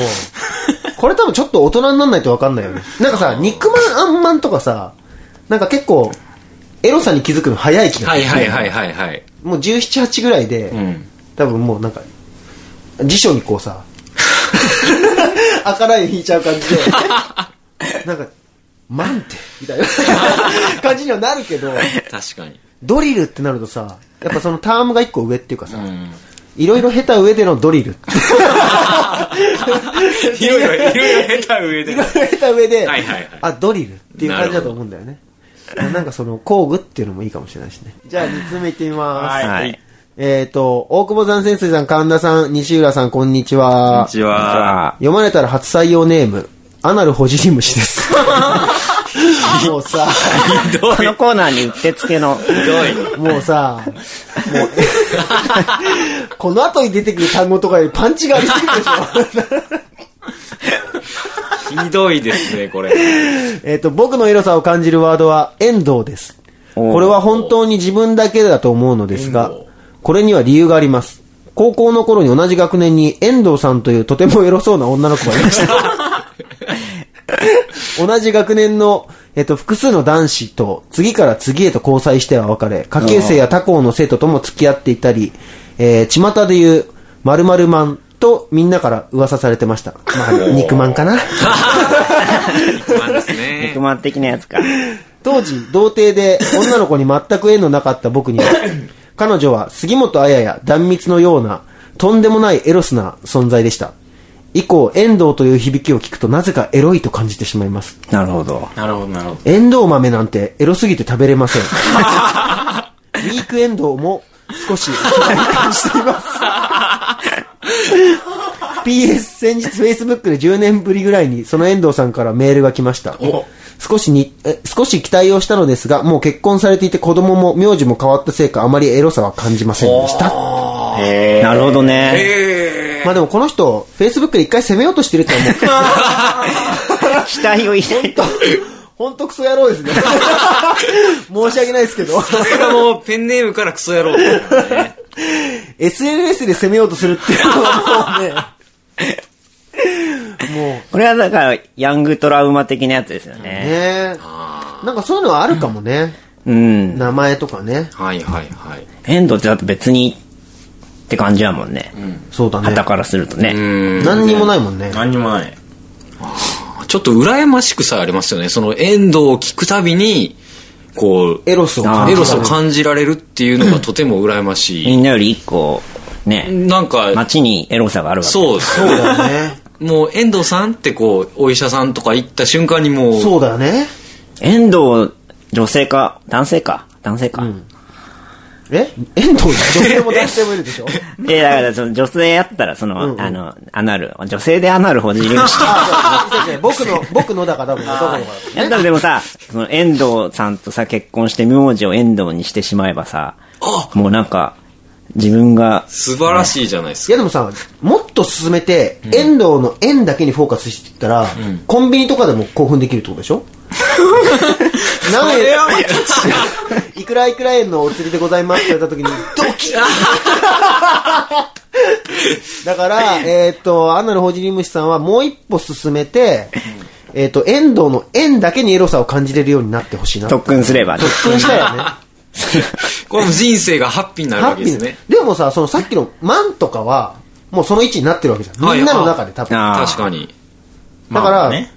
A: これ多分ちょっと大人にならないと分かんないよね。なんかさ、肉まん、あんまんとかさ、なんか結構、エロさに気づくの早い気が
G: はいはいはいはいはい。
A: もう17、8ぐらいで、
G: ん
A: 多分もうなんか、辞書にこう さ、赤ライン引いちゃう感じで、 なんか、マンテみたいな感じにはなるけど、
G: 確 かに。
A: ドリルってなるとさ、やっぱそのタームが一個上っていうかさ、いろいろ下手上でのドリ ル。
G: いろいろ、いろいろ下手上で。
A: 下手上で、
G: はいはいはい
A: あ、ドリルっていう感じだと思うんだよね。なんかその工具っていうのもいいかもしれないしね。じゃあ2つ目いってみます。
B: はい。
A: えっ、と、大久保山泉水さん、神田さん、西浦さん、こんにちは。
G: こんにちは。
A: 読まれたら初採用ネーム、アナルホジリムシ です。もうさ、
G: ひどい。
B: このコーナーにうってつけの、
G: ひどい。
A: もうさ、もう、 この後に出てくる単語とかよりパンチがありすぎるでし
G: ひどいですね、これ。
A: ょ。 えっと、僕のエロさを感じるワードは、遠藤です。
B: おう
A: これは本当に自分だけだと思うのですが
C: 遠藤、
A: これには理由があります。高校の頃に同じ学年に遠藤さんというとてもエロそうな女の子がいま した。同じ学年の、えっと、複数の男子と次から次へと交際しては別れ、下級生や他校の生徒とも付き合っていたり、えー、巷で言う、〇〇マンとみんなから噂されてました。まあ、肉まん かな。
G: まあですね
B: 肉。まん的なやつか。
A: 当時、童貞で女の子に全く縁のなかった僕には、彼女は杉本彩や断蜜のような、とんでもないエロスな存在でした。以降、遠藤という響きを聞くとなぜかエロいと感じてしまいます。
B: なるほど。
C: なるほど、なるほど。
A: 遠藤豆なんてエロすぎて食べれません。ウィークエンドウも少し興味感じています。PS 先日 Facebook で10年ぶりぐらいにその遠藤さんからメールが来ました。少しにえ、少し期待をしたのですが、もう結婚されていて子供も名字も変わったせいかあまりエロさは感じませんでした。
B: なるほどね。
A: まあでもこの人、Facebook で一回攻めようとしてると思う。
B: 期待を抱いて。
A: 本当クソ野郎ですね。 申し訳ないですけ ど。
G: さすがのペンネームからクソ野郎。
A: SNS で攻めようとするっていうの はもうね、も
B: これはだから、ヤングトラウマ的なやつですよ
A: う
B: ね。
A: ね、なんかそういうのはあるかもね。
B: うん。
A: 名前とかね。
G: はいはいはい。
B: 変動ってだって別に、って感じやもんね。
A: そうだね
B: 旗。からするとね。
A: 何にもないもんね。
C: 何にもない。
G: ちょっと羨ましくさえありますよね。その遠藤を聞くたびに、こう、
A: エロスを
B: あ
A: 感じ
B: ー
G: エ
A: る
G: ロさを感じられるっていうのがとても羨まし
B: みんなより一個、
G: い。
B: ね、
G: なんか、
B: 街にエロさがあるわけ。
G: そう、そう
A: そうだよ ね。
G: もう遠藤さんってこう、お医者さんとか行った瞬間にもう、
A: そうだよね。
B: 遠藤、女性か、男性か、男性か。
A: え遠藤女性も男性もいるでし ょ
B: で、だから、その女性やったら、その、あの、アナル、女性でアナルほじりました。
A: あそうそうそう僕の、僕のだから多分男の子だから
B: やったらでもさ、その遠藤さんとさ、結婚して名字を遠藤にしてしまえばさ、もうなんか、自分が、
G: 素晴らしいじゃない
A: い
G: ですか。
A: やでもさ、もっと進めて、遠藤の円だけにフォーカスしていったら、コンビニとかでも興奮できるってことでし ょ何円 いくらいくら円のお釣りでございますって言われ た時に、ドキッ だから、えーっ、と、アナルホジリムシさんはもう一歩進めて、えーっ、と、遠藤の円だけにエロさを感じれるようになってほしいな。
B: 特訓すればね、
A: 特訓したよね。
G: これも人生がハッ ピーになる
A: ハ
G: わ
A: ッ
G: け
A: ピ
G: で
A: ー
G: す
A: な
G: ね。
A: でもさ、そのさっきのマンとかは、もうその位置になってるわけじゃん。
G: はい
A: みんなの中で多分。
B: あー
G: 確かに。
A: だから
C: まあね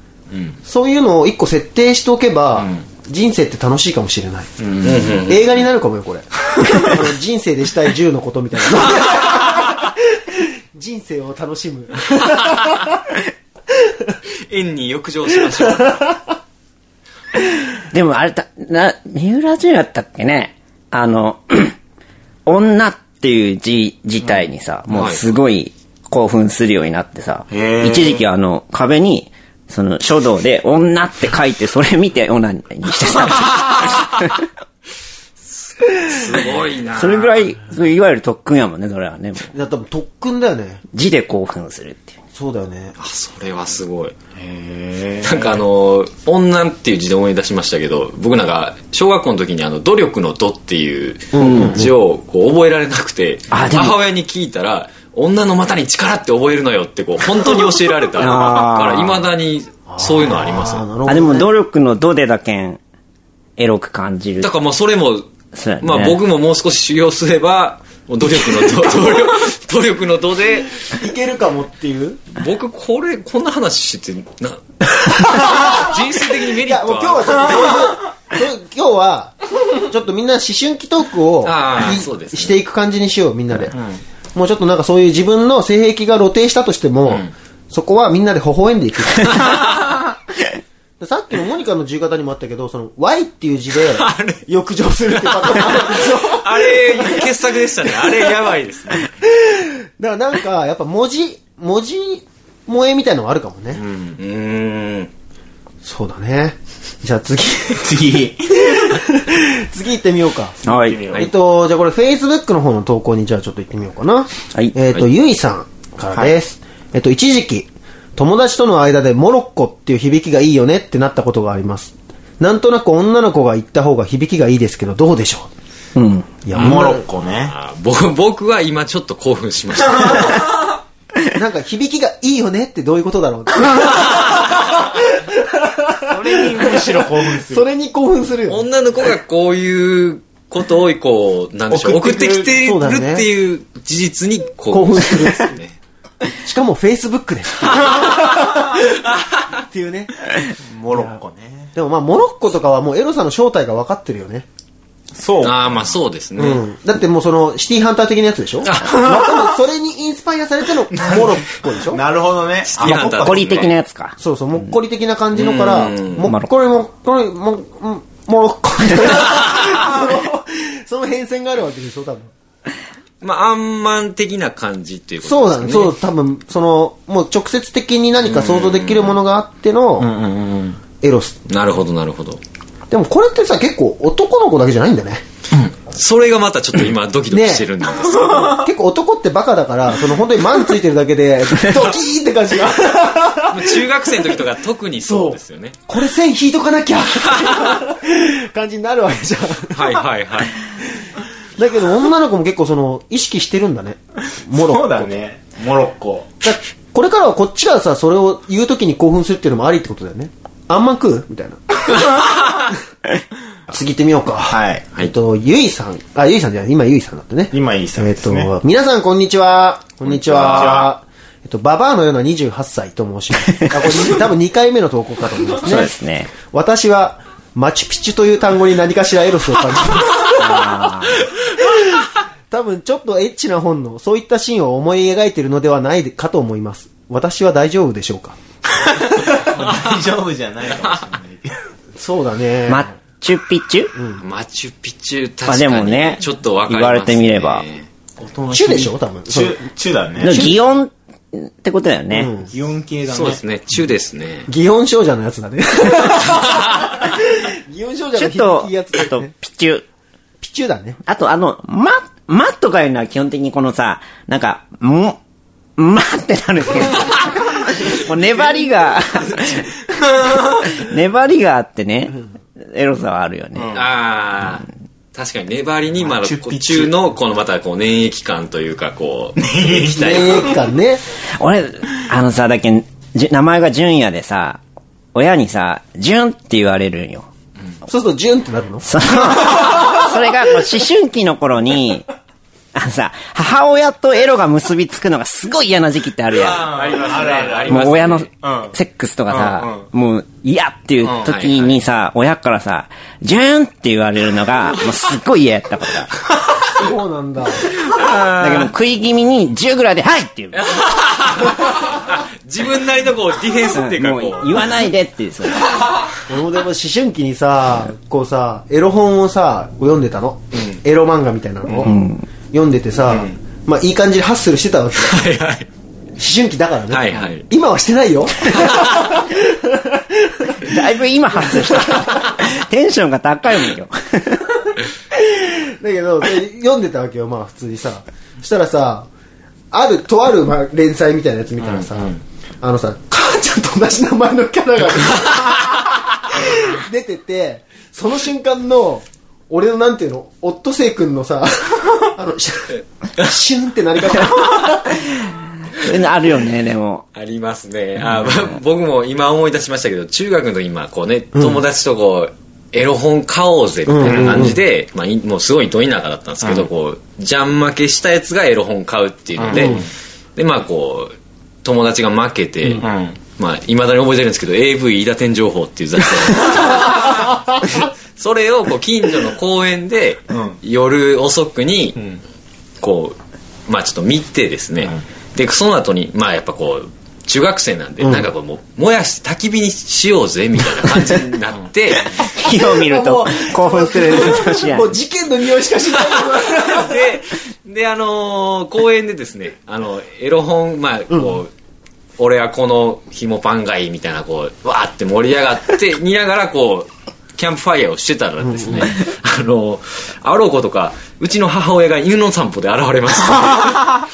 A: そういうのを一個設定しておけば、人生って楽しいかもしれない。映画になるかもよ、これ。 あの人生でしたい10のことみたいな。 人生を楽しむ。
G: 縁に浴場しましょう。
B: でもあれだ、な、三浦淳やったっけねあの、 女っていう字自体にさ、もうすごい興奮するようになってさ、
C: へー
B: 一時期あの壁に、その書道で女って書いてそれ見て女にしてさ、
G: すごいな。
B: それぐらい、そういわゆる特訓やもんね、それはね。もう
A: だ多分特訓だよね。
B: 字で興奮するっていう。
A: そうだよね。
G: あそれはすごいなんかあの「女」っていう字で思い出しましたけど僕なんか小学校の時にあの「努力の「度」っていう字をこう覚えられなくて、
B: あでも
G: 母親に聞いたら「女の股に力って覚えるのよ」ってこう本当に教えられたからいまだにそういうのあります
A: あーなるほど、
B: あ、でも努力のどでだけん、エロく感じる
G: だ。からまあそれも、
B: そうやね
G: まあ僕ももう少し修行すればもう努力の度 努力努力の度で
A: いけるかもっていう。
G: 僕これこんな話してて な人生的にメ
A: い
G: リッ
A: や、
G: ト
A: もう今日はちょっとそういう、そういう今日は、ちょっとみんな思春期トークを
G: あー
A: い
G: そうですね
A: していく感じにしよう、みんなで。もうちょっとなんかそういう自分の性癖が露呈したとしても、そこはみんなで微笑ん でいく。さっきのモニカの自由形にもあったけど、その Y っていう字で浴場するってパターンもあるでしょ
G: あれ、傑作でしたね。あれ、やばいですね。
A: だからなんか、やっぱ文字、文字萌えみたいのがあるかもね。
G: うん。
A: そうだね。じゃあ次、
C: 次。
A: 次行ってみようか。
B: はい。
A: えっと、じゃあこれ、Facebook の方の投稿に、じゃあちょっと行ってみようかな。
B: はい
A: えっと、ゆいさんからです。えっと、一時期、友達との間でモロッコっていう響きがいいよねってなったことがあります。なんとなく女の子が言った方が響きがいいですけど、どうでしょ
B: うん。
A: ういや、
C: モロッコね。
G: あ僕僕は今ちょっと興奮しました。
A: コ。なんか響きがいいよねってどういうことだ ろう
C: それにむしろ興奮する。
A: それに興奮するよね。
G: 女の子がこういうことを、こう、なんでしょう、
C: 送
G: 送
C: っ
G: ってて
C: くる
G: きて
A: そう
G: る
A: だね
G: っていう事実に興奮するんですね。
A: しかも Facebook で。っていうね。
C: モロッコね。
A: でもまあ、モロッコとかはもうエロさの正体が分かってるよね。
C: そう。
G: ああ、まあそうですね。
A: うん。だってもうその、シティハンター的なやつでしょまあでもそれにインスパイアされてのモロッコで しょ
C: なるほどね。
G: ティーハンター
B: ゴリ的なやつか。
A: そうそう、もっこり的な感じのから、もっこりもっこり、もっ、もモロッ コみたいな。その、その変遷があるわけでしょ、多分。
G: まあ、アンマン的な感じっていうこ
A: そう
G: と
A: だ
G: で
A: ね。
G: すかね。
A: そう、多分、その、もう直接的に何か想像できるものがあっての、エロス。
G: なるほど、なるほど。
A: でもこれってさ、結構男の子だけじゃないんだ ね。
G: それがまたちょっと今ドキドキしてるんです けど。
A: 結構男ってバカだから、その本当にマンついてるだけ で、ドキーンって感じが。
G: まあ中学生の時とか特にそうですよね。
A: これ線引いとかな きゃって感じになるわけじゃん。
G: はいはいはい。
A: だけど女の子も結構その、意識してるんだね。モロッコ。
C: そうだね。モロッコ。
A: だこれからはこっちがさ、それを言うときに興奮するっていうのもありってことだよね。あんま食うみた いな。次行ってみようか。
C: はい。
A: えっと、ゆいさん。あ、ゆいさんじゃない。今ゆいさんだってね。
C: 今ゆいさん
A: えっ
C: です
A: と
C: ね、
A: 皆さんこんにちは。こんにち
C: こんに
A: は
C: ちは。
A: えっと、ババアのような28歳と申します。あこれ多分2回目の投稿かと思いますね。
B: そうですね。
A: 私は、マチュピチュという単語に何かしらエロスを感じます。多分ちょっとエッチな本の、そういったシーンを思い描いているのではないかと思います。私は大丈夫でしょうか
C: 大丈夫じゃないかもしれないけど。
A: そうだね。
B: マッチュピチュ、
G: マチュピチュ、
B: まあ
G: 確
B: で
G: か
B: も
G: に、
B: ね
G: ちょっとわかります、ね。
B: 言われてみれば
A: チュでしょ多分。
C: チュ、チュだね。
B: 擬音ってことだよね。
C: 気温系だね。
G: そうですね、中ですね。
A: 祇園少女のやつだ ね。祇園少女
B: ちょ
A: の
B: っと
A: 響きやつ、
B: あ
A: だ
B: と
A: ね。、
B: ピチュ。
A: ピチュだね。
B: あと、あの、ま、まとかいうのは基本的にこのさ、なんか、も、まってなるけど。もう粘りが、 粘りがあってね、エロさはあるよね。
G: ああ、確かに粘りにまだ
C: チュッ
G: こ
C: ピ
G: う
C: チュ
G: 中のこのまたこう粘液感というかこ う液体
A: 免疫感ね。
B: 俺、あのさ、だけんじゅ名前が純也でさ、親にさ、純って言われるんよ。
A: そうするとジュンってなるの
B: その、それがこう思春期の頃に、あのさ、母親とエロが結びつくのがすごい嫌な時期ってあるや
C: ありますね。あ
B: ん。
C: り
B: もう親の
C: ん
B: セックスとかさ、
C: う
B: もう嫌っていう時にさ、親からさ、ジューンって言われるのが、もうすっごい嫌やったことだ。
A: そうなんだ。
B: だけど食い気味に10ぐらいで、はいっ ていう。
G: 自分なりのこう、ディフェンスっていうか、
B: も
G: こ
B: う
G: う。
B: 言わないでっていう、それ
A: 俺もでも思春期にさ、こうさ、エロ本をさ、読んでたの。エロ漫画みたいなのを。読んでてさ、まあいい感じにハッスルしてたわけ。
G: はいはい。
A: 思春期だからね。
G: はいはい
A: 今はしてない よ。
B: だいぶ今発生した。 テンションが高いのよ。
A: だけど、で読んでたわけよ、まあ普通にさ。そしたらさ、ある、とある、まあ、連載みたいなやつ見たらさ、あのさ、母ちゃんと同じ名前のキャラが出 てて、その瞬間の、俺のなんていうの、オットセイ君の さ、あの、シュンシュンってなり方。
B: そういうの あるよね、でも。
G: ありますね。あま僕も今思い出しましたけど、中学の時今、こうね、友達とこう、エロ本買おうぜみたいな感じで、まあい、もうすごいど田舎だったんですけど、こう、ジャン負けしたやつがエロ本買うっていうので、で、まあこう、友達が負けて、まあ、いまだに覚えてるんですけど、AV 飯田店情報っていう雑 誌それをこう近所の公園で夜遅くにこうまあちょっと見てですね、でその後にまあやっぱこう中学生なんで、なんかこうもう燃やして焚き火にしようぜみたいな感じにな って
B: 火を見ると興奮する年や
A: も。う事件の匂いしかしない。
G: でであのー公園でですねあのエロ本まあこう、俺はこのひもパンがいいみたいなこうわーって盛り上がって見ながらこうキャンプファイヤーをしてたらですね、あのーあろうことかうちの母親が犬の散歩で現れましたあ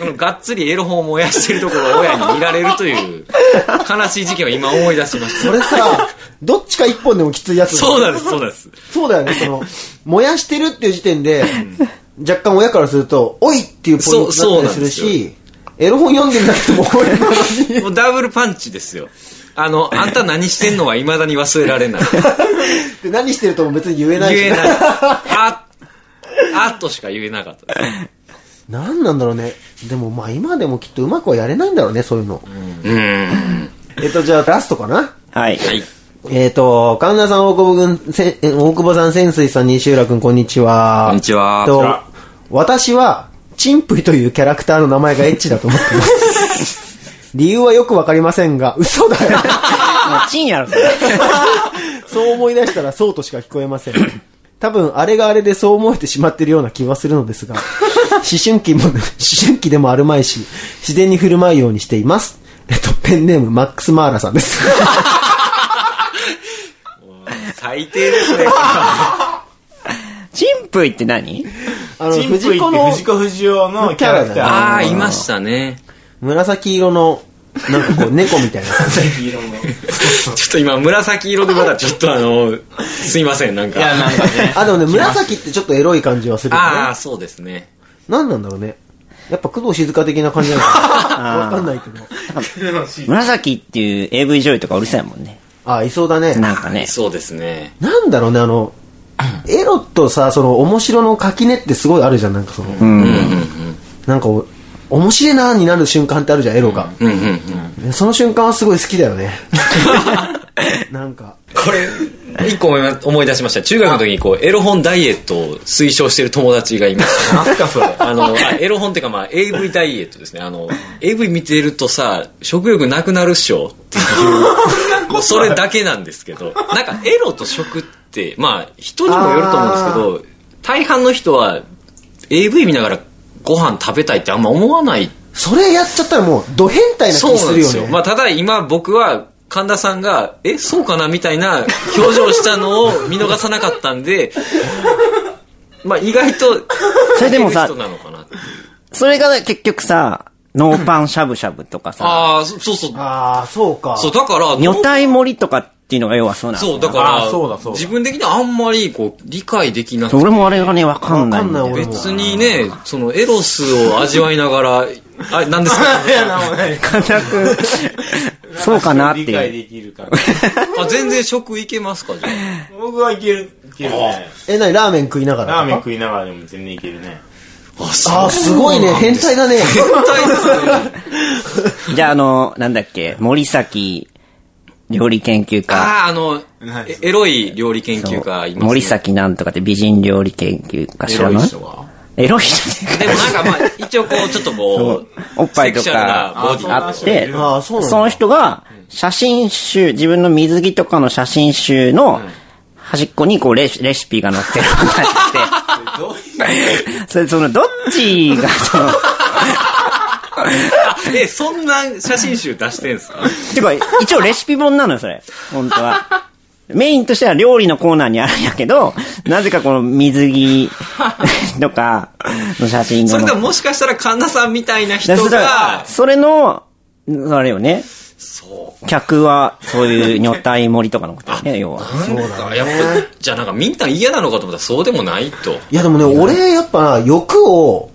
G: のがっつりエロ本を燃やしてるところを親に見られるという悲しい事件を今思い出しました
A: それさ、どっちか一本でもきついやつだよ
G: そうなんですそうなんです
A: そうだよね、その、燃やしてるっていう時点で、若干親からすると、おいっていうポイント
G: そう
A: になったりす
G: そうな
A: る
G: ん
A: し、エロ本読んでんだけども、俺なのに。
G: もうダブルパンチですよあのあんた何してんのはいまだに忘れられない
A: で何してるとも別に言えないし
G: 言えない。あ、 あっとしか言えなかったです。
A: 何なんだろうね。でもまあ今でもきっとうまくはやれないんだろうね、そういうの。えっと、じゃあラストかな。
B: はい。
G: はい。
A: えっと、神田さん、大久保君、せえ大久保さん、潜水さん、西浦君、こんにちは。
G: こんにちは
A: えっと、私は、チンプイというキャラクターの名前がエッチだと思ってます。 理由はよくわかりませんが、嘘だよ。
B: もうチンやろ、それ。
A: そう思い出したらそうとしか聞こえません。多分、あれがあれでそう思えてしまってるような気はするの ですが、思春期も、思春期でもあるまいし、自然に振る舞うようにしています。えっと、ペンネーム、マックス・マーラさん です。
G: 最低ですね。
B: チンプイって何
A: あの、
C: チンプイっ
A: 藤
C: て
A: 子の
C: 藤子不二雄のキャラクター。
G: ああ、いましたね。
A: 紫色の、なんかこう、猫みたいな。
G: ちょっと今、紫色でまだちょっとあの、すいません、なんか。
A: あ、でもね、紫ってちょっとエロい感じはするよね。
G: ああ、そうですね。
A: 何なんだろうね。やっぱ工藤静香的な感じなのかなわかんないけど。
B: 紫っていう AV 女優とかうるさいもんね。
A: あ、いそうだね。
B: なんかね。
G: そうですね。
A: なんだろうね、あの、エロとさ、その、面白の垣根ってすごいあるじゃん、なんかその、なんかお、面白いなーになる瞬間ってあるじゃん、エロが。
G: うんうんうん。
A: その瞬間はすごい好きだよね。なんか、
G: これ、一個思いま思い出しました。中学の時にこう、エロ本ダイエットを推奨してる友達がいました。
C: なんすかそれ。
G: あの、あエロ本っていうかまあ、AV ダイエットですね。あの、AV 見てるとさ、食欲なくなるっしょっていう、もうそれだけなんですけど、なんかエロと食って、まあ、人にもよると思うんですけど、大半の人は AV 見ながらご飯食べたいってあんま思わない。
A: それやっちゃったらもう、ド変態な気
G: そうな
A: す
G: ん
A: る
G: で
A: よ
G: すよ。
A: ね。
G: まあ、ただ今僕は、神田さんが、え、そうかなみたいな表情をしたのを見逃さなかったんで、まあ意外と、
B: それでもさ
G: いける人なのかなって
B: それが結局さ、ノーパンしゃぶしゃぶとかさ、
G: ああ、そそうそう。
A: ああ、そうか。
G: そう、だから、
B: 女体盛りとかっていうのが要はそうなの
G: そう、だから、
C: あそうだそうだ
G: 自分的にはあんまり、こう、理解できなくて、
B: 俺もあれがね、わかんないんだよ
A: わかんない俺も
G: 別にね、その、エロスを味わいながら、あ、なんですか
B: 神田君 そうかなって
C: 理解
B: いう。
C: できるから。
G: あ、全然食いけますか、じゃあ。
C: 僕はいけるけるね。
A: え、なにラーメン食いながら
C: ラーメン
A: ン
C: 食いながらでも全然いけるね。
A: あー、すごいね。変態だね。
B: じゃあ、あの、なんだっけ、森崎料理研究家。
G: ああ、あの、えエロい料理研究家います、ね。
B: 森。崎なんとかって美人料理研究家知
C: エ
B: ら
C: ロい
B: ない
C: 人は。
B: エロい人って
G: で
B: いう
G: も
B: か
G: なんかまあ、一応こう、ちょっとこう、
B: おっぱいと
G: セクシャルな
B: か
G: ボディ
B: あって、
A: あー、そうなん
B: そ
A: だ。
B: の人が写真集、自分の水着とかの写真集の端っこにこうレシレシピが載ってるみたいで、 それそのどっちがその、
G: え、そんな写真集出してんすか
B: てか一応レシピ本なのよ、それ。本当は。メインとしては料理のコーナーにあるんやけど、なぜかこの水着とかの写真が載
G: そ
B: っ
G: れ
B: て
G: でももしかしたら神田さんみたいな人
B: だから
G: が、
B: それの、あれよね。客は、そういう女体盛りとかのことよね、要は。
G: なんかやっぱ、じゃあなんかミンタン嫌なのかと思ったらそうでもないと。
A: いやでもね、俺やっぱ欲を、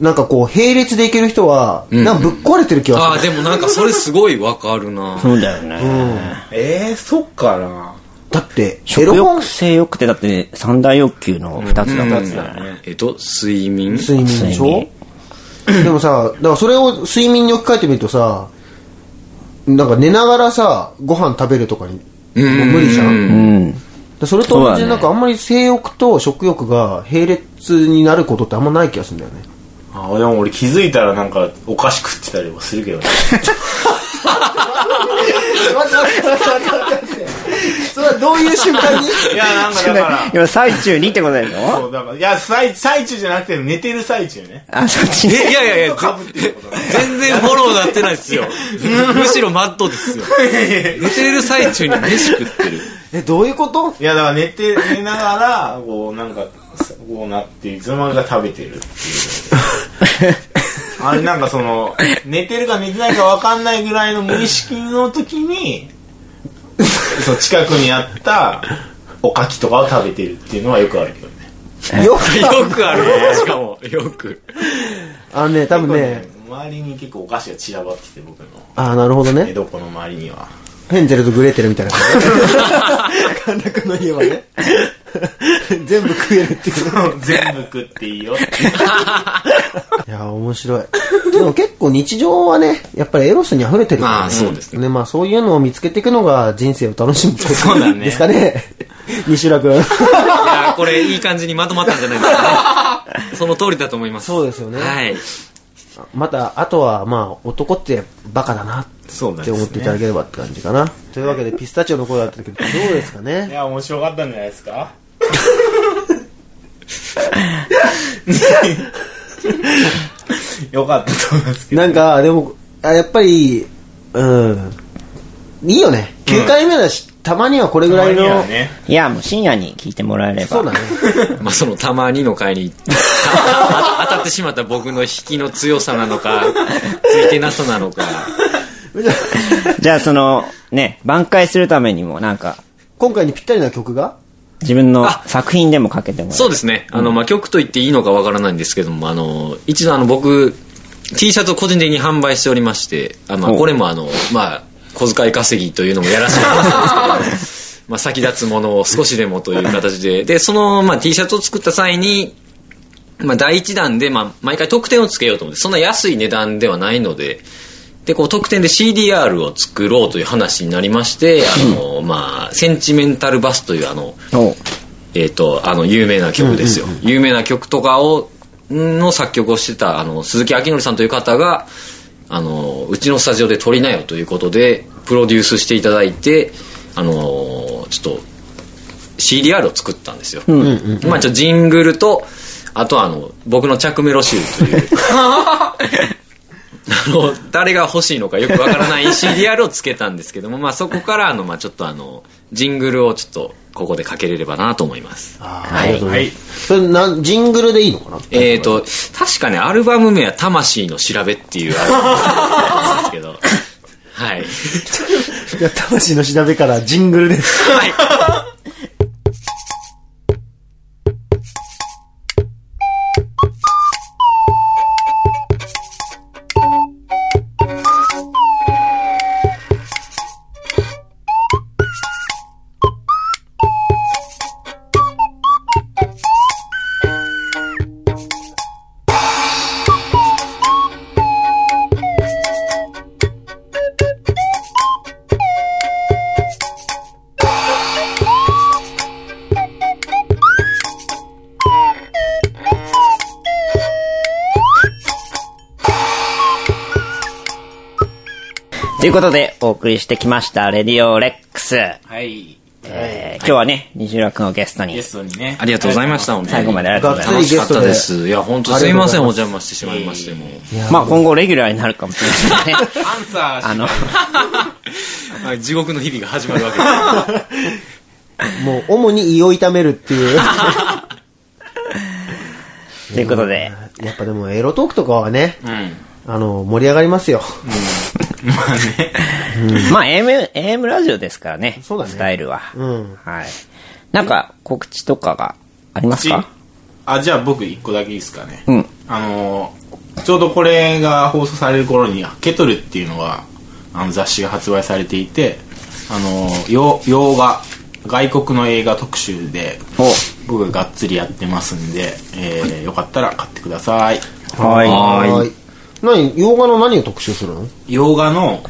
A: なんかこう、並列でいける人は、なんかぶっ壊れてる気
G: あ
A: が
G: あ、
A: する。
G: でもなんかそれすごいわかるな。
B: そうだよね。
C: えー、そっかな。
A: だって、エ
B: 食
A: ロ本
B: 欲、性欲ってだって三大欲求の二つだからね。
G: えっと、睡眠
A: 睡眠でしょでもさ、だからそれを睡眠に置き換えてみるとさ、なんか寝ながらさ、ご飯食べるとかに、もう無理じゃん。
B: うん。
A: でそれと同じで、なんかあんまり性欲と食欲が並列になることってあんまない気がするんだ よね。
C: あーでも俺気づいたらなんかお菓子食ってたりもするけどね。
A: 待って待って待って待って。それはどういう瞬間に
C: いや、なんかだから。
B: 今最中にってことでしょ
C: そうだからいや最最中じゃなくて寝てる最中ね
B: あ、そっち
G: え、い
B: ね。
G: やいやいや、
C: かぶってることが
G: 全然フォローなってないですよ。むしろマッドですよ。寝てる最中に飯食 ってる。
A: え、どういうこと
C: いやだから寝て寝ながらこうなんかこうなっていつの間にか食べてるっていうあれなんかその寝てるか寝てないか分かんないぐらいの無意識の時にそう近くにあったおかきとかを食べてるっていうのはよくあるけどね
A: よく
G: よくあるね、しかも。よく。
A: あのね、多分ね、
C: 結構周りに結構お菓子が散らばってて僕の
A: ああ、なるほど
C: 寝
A: ね。
C: 床の周りには
A: ヘンゼルとグレーテルみたいな感じ。神田君の家はね。全部食えるっていう。
C: 全部食っていいよって
A: いや、面白い。でも結構日常はね、やっぱりエロスに溢れてるから、
G: まあそうです
A: ね。まあそういうのを見つけていくのが人生を楽しむこと
G: そうだね
A: ですかね。西浦君。
G: いや、これいい感じにまとまったんじゃないですか ね。その通りだと思います。
A: そうですよね
G: はい。
A: また、あとはまあ男ってバカだな
C: そうなん
A: っ
C: で
A: て
C: すね
A: 思っていただければって感じかな。というわけでピスタチオの声だったけど、どうですか
C: い
A: ね。
C: や、面白かったんじゃないですかよかったと思いますけど。
A: なんか、でも、あやっぱり、うん。いいよね。9回目だし、たまにはこれぐらい
C: たまに
A: の
C: は。ね、
B: いや、もう深夜に聞いてもらえれば。
A: そうだね。
G: まあそのたまにの会に当たってしまった僕の引きの強さなのか、ついてなさなのか。
B: じゃあその、ね、挽回するためにもなんか、
A: 今回にぴったりな曲が
B: 自分の作品でもかけてもら
G: そうですね。あの、まあ、曲と言っていいのかわからないんですけども、あの、一度あの、僕、T シャツを個人的に販売しておりまして、あまあ
B: お
G: これもあの、まあ、小遣い稼ぎというのもやらせてもら ったんですけど、まあ、先立つものを少しでもという形で、で、その、まあ、T シャツを作った際に、まあ、第一弾で、まあ、毎回特典をつけようと思って、そんな安い値段ではないので、で、こう、特典で CDR を作ろうという話になりまして、あの、まあ、センチメンタルバスという、あの、
B: う。おう
G: えー、とあの有名な曲ですよ、有名な曲とかをの作曲をしてたあの鈴木明則さんという方があのうちのスタジオで撮りなよということでプロデュースしていただいてあのちょっと CDR を作ったんですよ、まあちょっとジングルとあとはあの僕の着メロ集と いうあの誰が欲しいのかよくわからない CDR をつけたんですけども、まあ、そこからあの、まあ、ちょっとあのジングルをちょっとここでかけれればなと思いますはい、
C: はい。
A: それなん、ジングルでいいのかな
G: えー、と確かねアルバム名は「魂の調べ」っていうアルバムなんですけどはい
A: いや、魂の調べからジングルです。
G: 「
B: ということで、お送りしてきました、レディオレックス。
C: はい。
B: えー今日はね、西浦くんをゲストに
C: ゲ、ストにね。
G: ありがとうございました、本当に
B: 最後までありがとうございま
G: 楽
B: す。
G: しかったです。
A: ゲストで
G: いや、本当すいません、
A: あ
G: お
A: りが
G: 邪魔してしまいましても。
B: まあ今後レギュラーになるかもしれないですね。
C: アンサーし
B: あの、
G: はい地獄の日々が始まるわけです。
A: もう、主に胃を痛めるって いう。
B: ということで、
A: やっぱでも、エロトークとかはね、あの、盛り上がりますよ。
B: まあ AM、AM ラジオですからね、
A: そうだね
B: スタイルは。
A: うん
B: はい。なんか告知とかがありますか
C: あ、じゃあ僕一個だけいいですかね。
B: うん
C: あのー、ちょうどこれが放送される頃に、ケトルっていうのが、あの雑誌が発売されていて、あのー、洋洋画、外国の映画特集で、僕ががっつりやってますんで、えー、よかったら買ってください。
B: はい
A: はーい。何、洋画の何を特集するの
C: 洋画の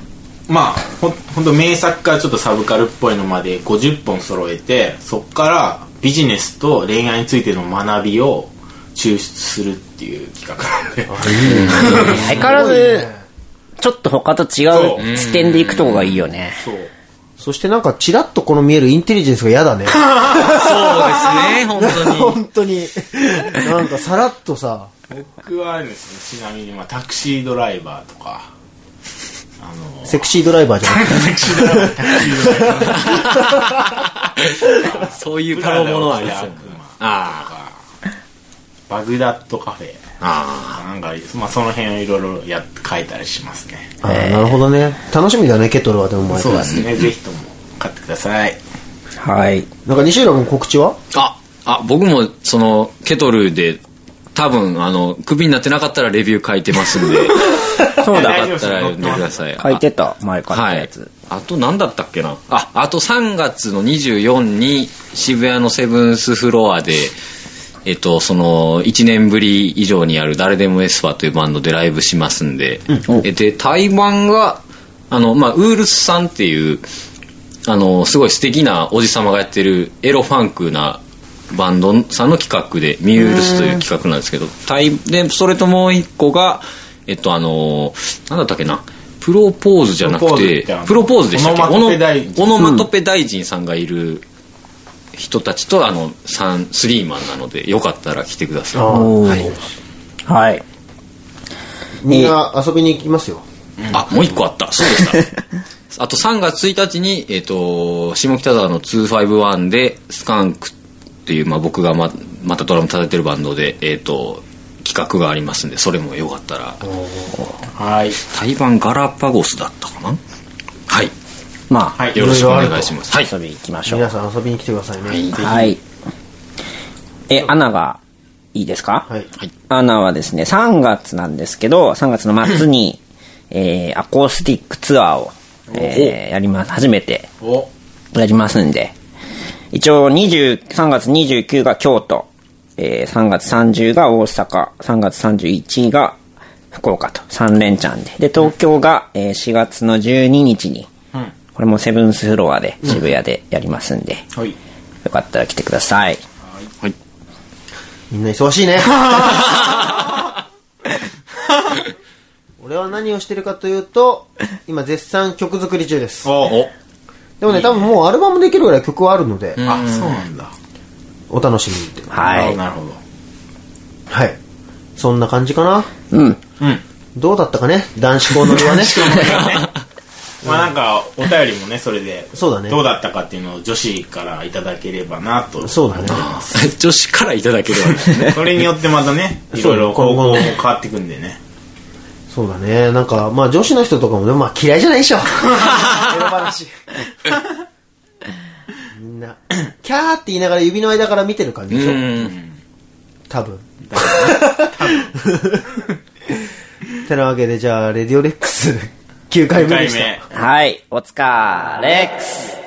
C: まあほんほんと名作からちょっとサブカルっぽいのまで50本揃えてそっからビジネスと恋愛についての学びを抽出するっていう企画なんで
B: 相変わらず、ちょっと他と違う視点でいくとこがいいよね。
C: そう
A: そしてなんか、チラッとこの見えるインテリジェンスが嫌だ ね。
G: そうです ね、本当に。
A: 本当に。なんか、さらっとさ、
C: 僕はあれですねちなみに、まあ、タクシードライバーとかあの
A: セクシードライバーじゃなくて。
C: タクシードライバータクシードライバー
G: そういう
C: プ
G: パ
C: ラ
G: ロ
C: ダ
G: もの
C: を
G: あ
C: 着
G: り
C: た
G: ま
C: 悪
G: すよね。
C: 魔
G: あ
C: バグダッドカフェ
G: あ。ああ。
C: なんか、まあ、その辺をいろいろやっ書いたりしますね
A: あーなるほどね。楽しみだね、ケトルはでも毎
C: そうで
A: 回。
C: すねぜひとも買ってください
B: はい。
A: なんか、西浦君告知は
G: あ、あ、僕も、その、ケトルで、多分、あの、クビになってなかったらレビュー書いてますんで。
B: そうだ
G: よかったら読んでください。
B: 書いてた、前買ったやつ。
G: あと何だったっけなああと3月の24に渋谷のセブンスフロアでえっとその1年ぶり以上にある「誰でもエスパー」というバンドでライブしますんで、えで対バンがあの、まあ、ウールスさんっていうあのすごい素敵なおじさまがやってるエロファンクなバンドさんの企画で「ミュールス」という企画なんですけど対でそれともう一個がえっとあのなんだったっけなプロポーズじゃなくて
C: プ
G: プ
C: ロ
G: ロ
C: ポ
G: ポ
C: ー
G: ー
C: ズ
G: ズ
C: って
G: で
C: あ
G: し
C: の
G: たっけ
C: オノマトペ大臣
G: オノオノマトペ大臣さんがいる人たちとあのサンスリーマンなのでよかったら来てくださいはい
B: はい。
A: みんな遊びに行きますよ。
G: あもう一個あったそうでしたあと3月1日に、えっと下北沢の251でスカンクっていう、まあ、僕がままたドラム叩いてるバンドで、えっと企画がありますんでそれもよかったら
C: はい
G: 台湾ガラパゴスだったかなはい
B: まあ、
C: はい
G: よろしくお願いしますはい
B: 遊び行きましょ
A: 皆
B: う。
A: さん遊びに来てくださいね。
B: はい。え、アナがいいですか
A: はい。
B: アナはですね、3月なんですけど、3月の末に、えー、アコースティックツアーを、えーやります。初めて
C: お
B: やりますんで。一応、20 3月29が京都、えー、3月30が大阪、3月31が福岡と3連チャンで。で、東京が、えー4月の12日に、これもセブンスフロアで渋谷でやりますんで、
C: はい
B: よかったら来てください。
A: みんな忙しいね。 俺は何をしてるかというと、今絶賛曲作り中です。
C: お
A: でもね、多分もうアルバムできるぐらい曲はあるので、
C: あそうなんだ
A: お楽しみにって。
B: はい。
C: なるほどなる
A: はい。そんな感じかな。
B: うん。
A: どうだったかね男子校 のりはね。
C: ほどまあなんかお便りもねそれで
A: そうだね
C: どうだったかっていうのを女子からいただければなと
A: そうだね。
G: 女子からいただければで すね
C: それによってまたね
A: そう
C: いろいろ方向も変わってくんでね
A: そうだね。なんか、まあ女子の人とかもね、まあ嫌いじゃない でしょ。エロ話。みんな、キャーって言いながら指の間から見てる感じでしょ。
G: うん
A: 多分。 てなわけで、じゃあ、レディオレックス9回
C: 1
A: 目
C: 回
A: でした。
C: 目
B: はい。お疲れっす。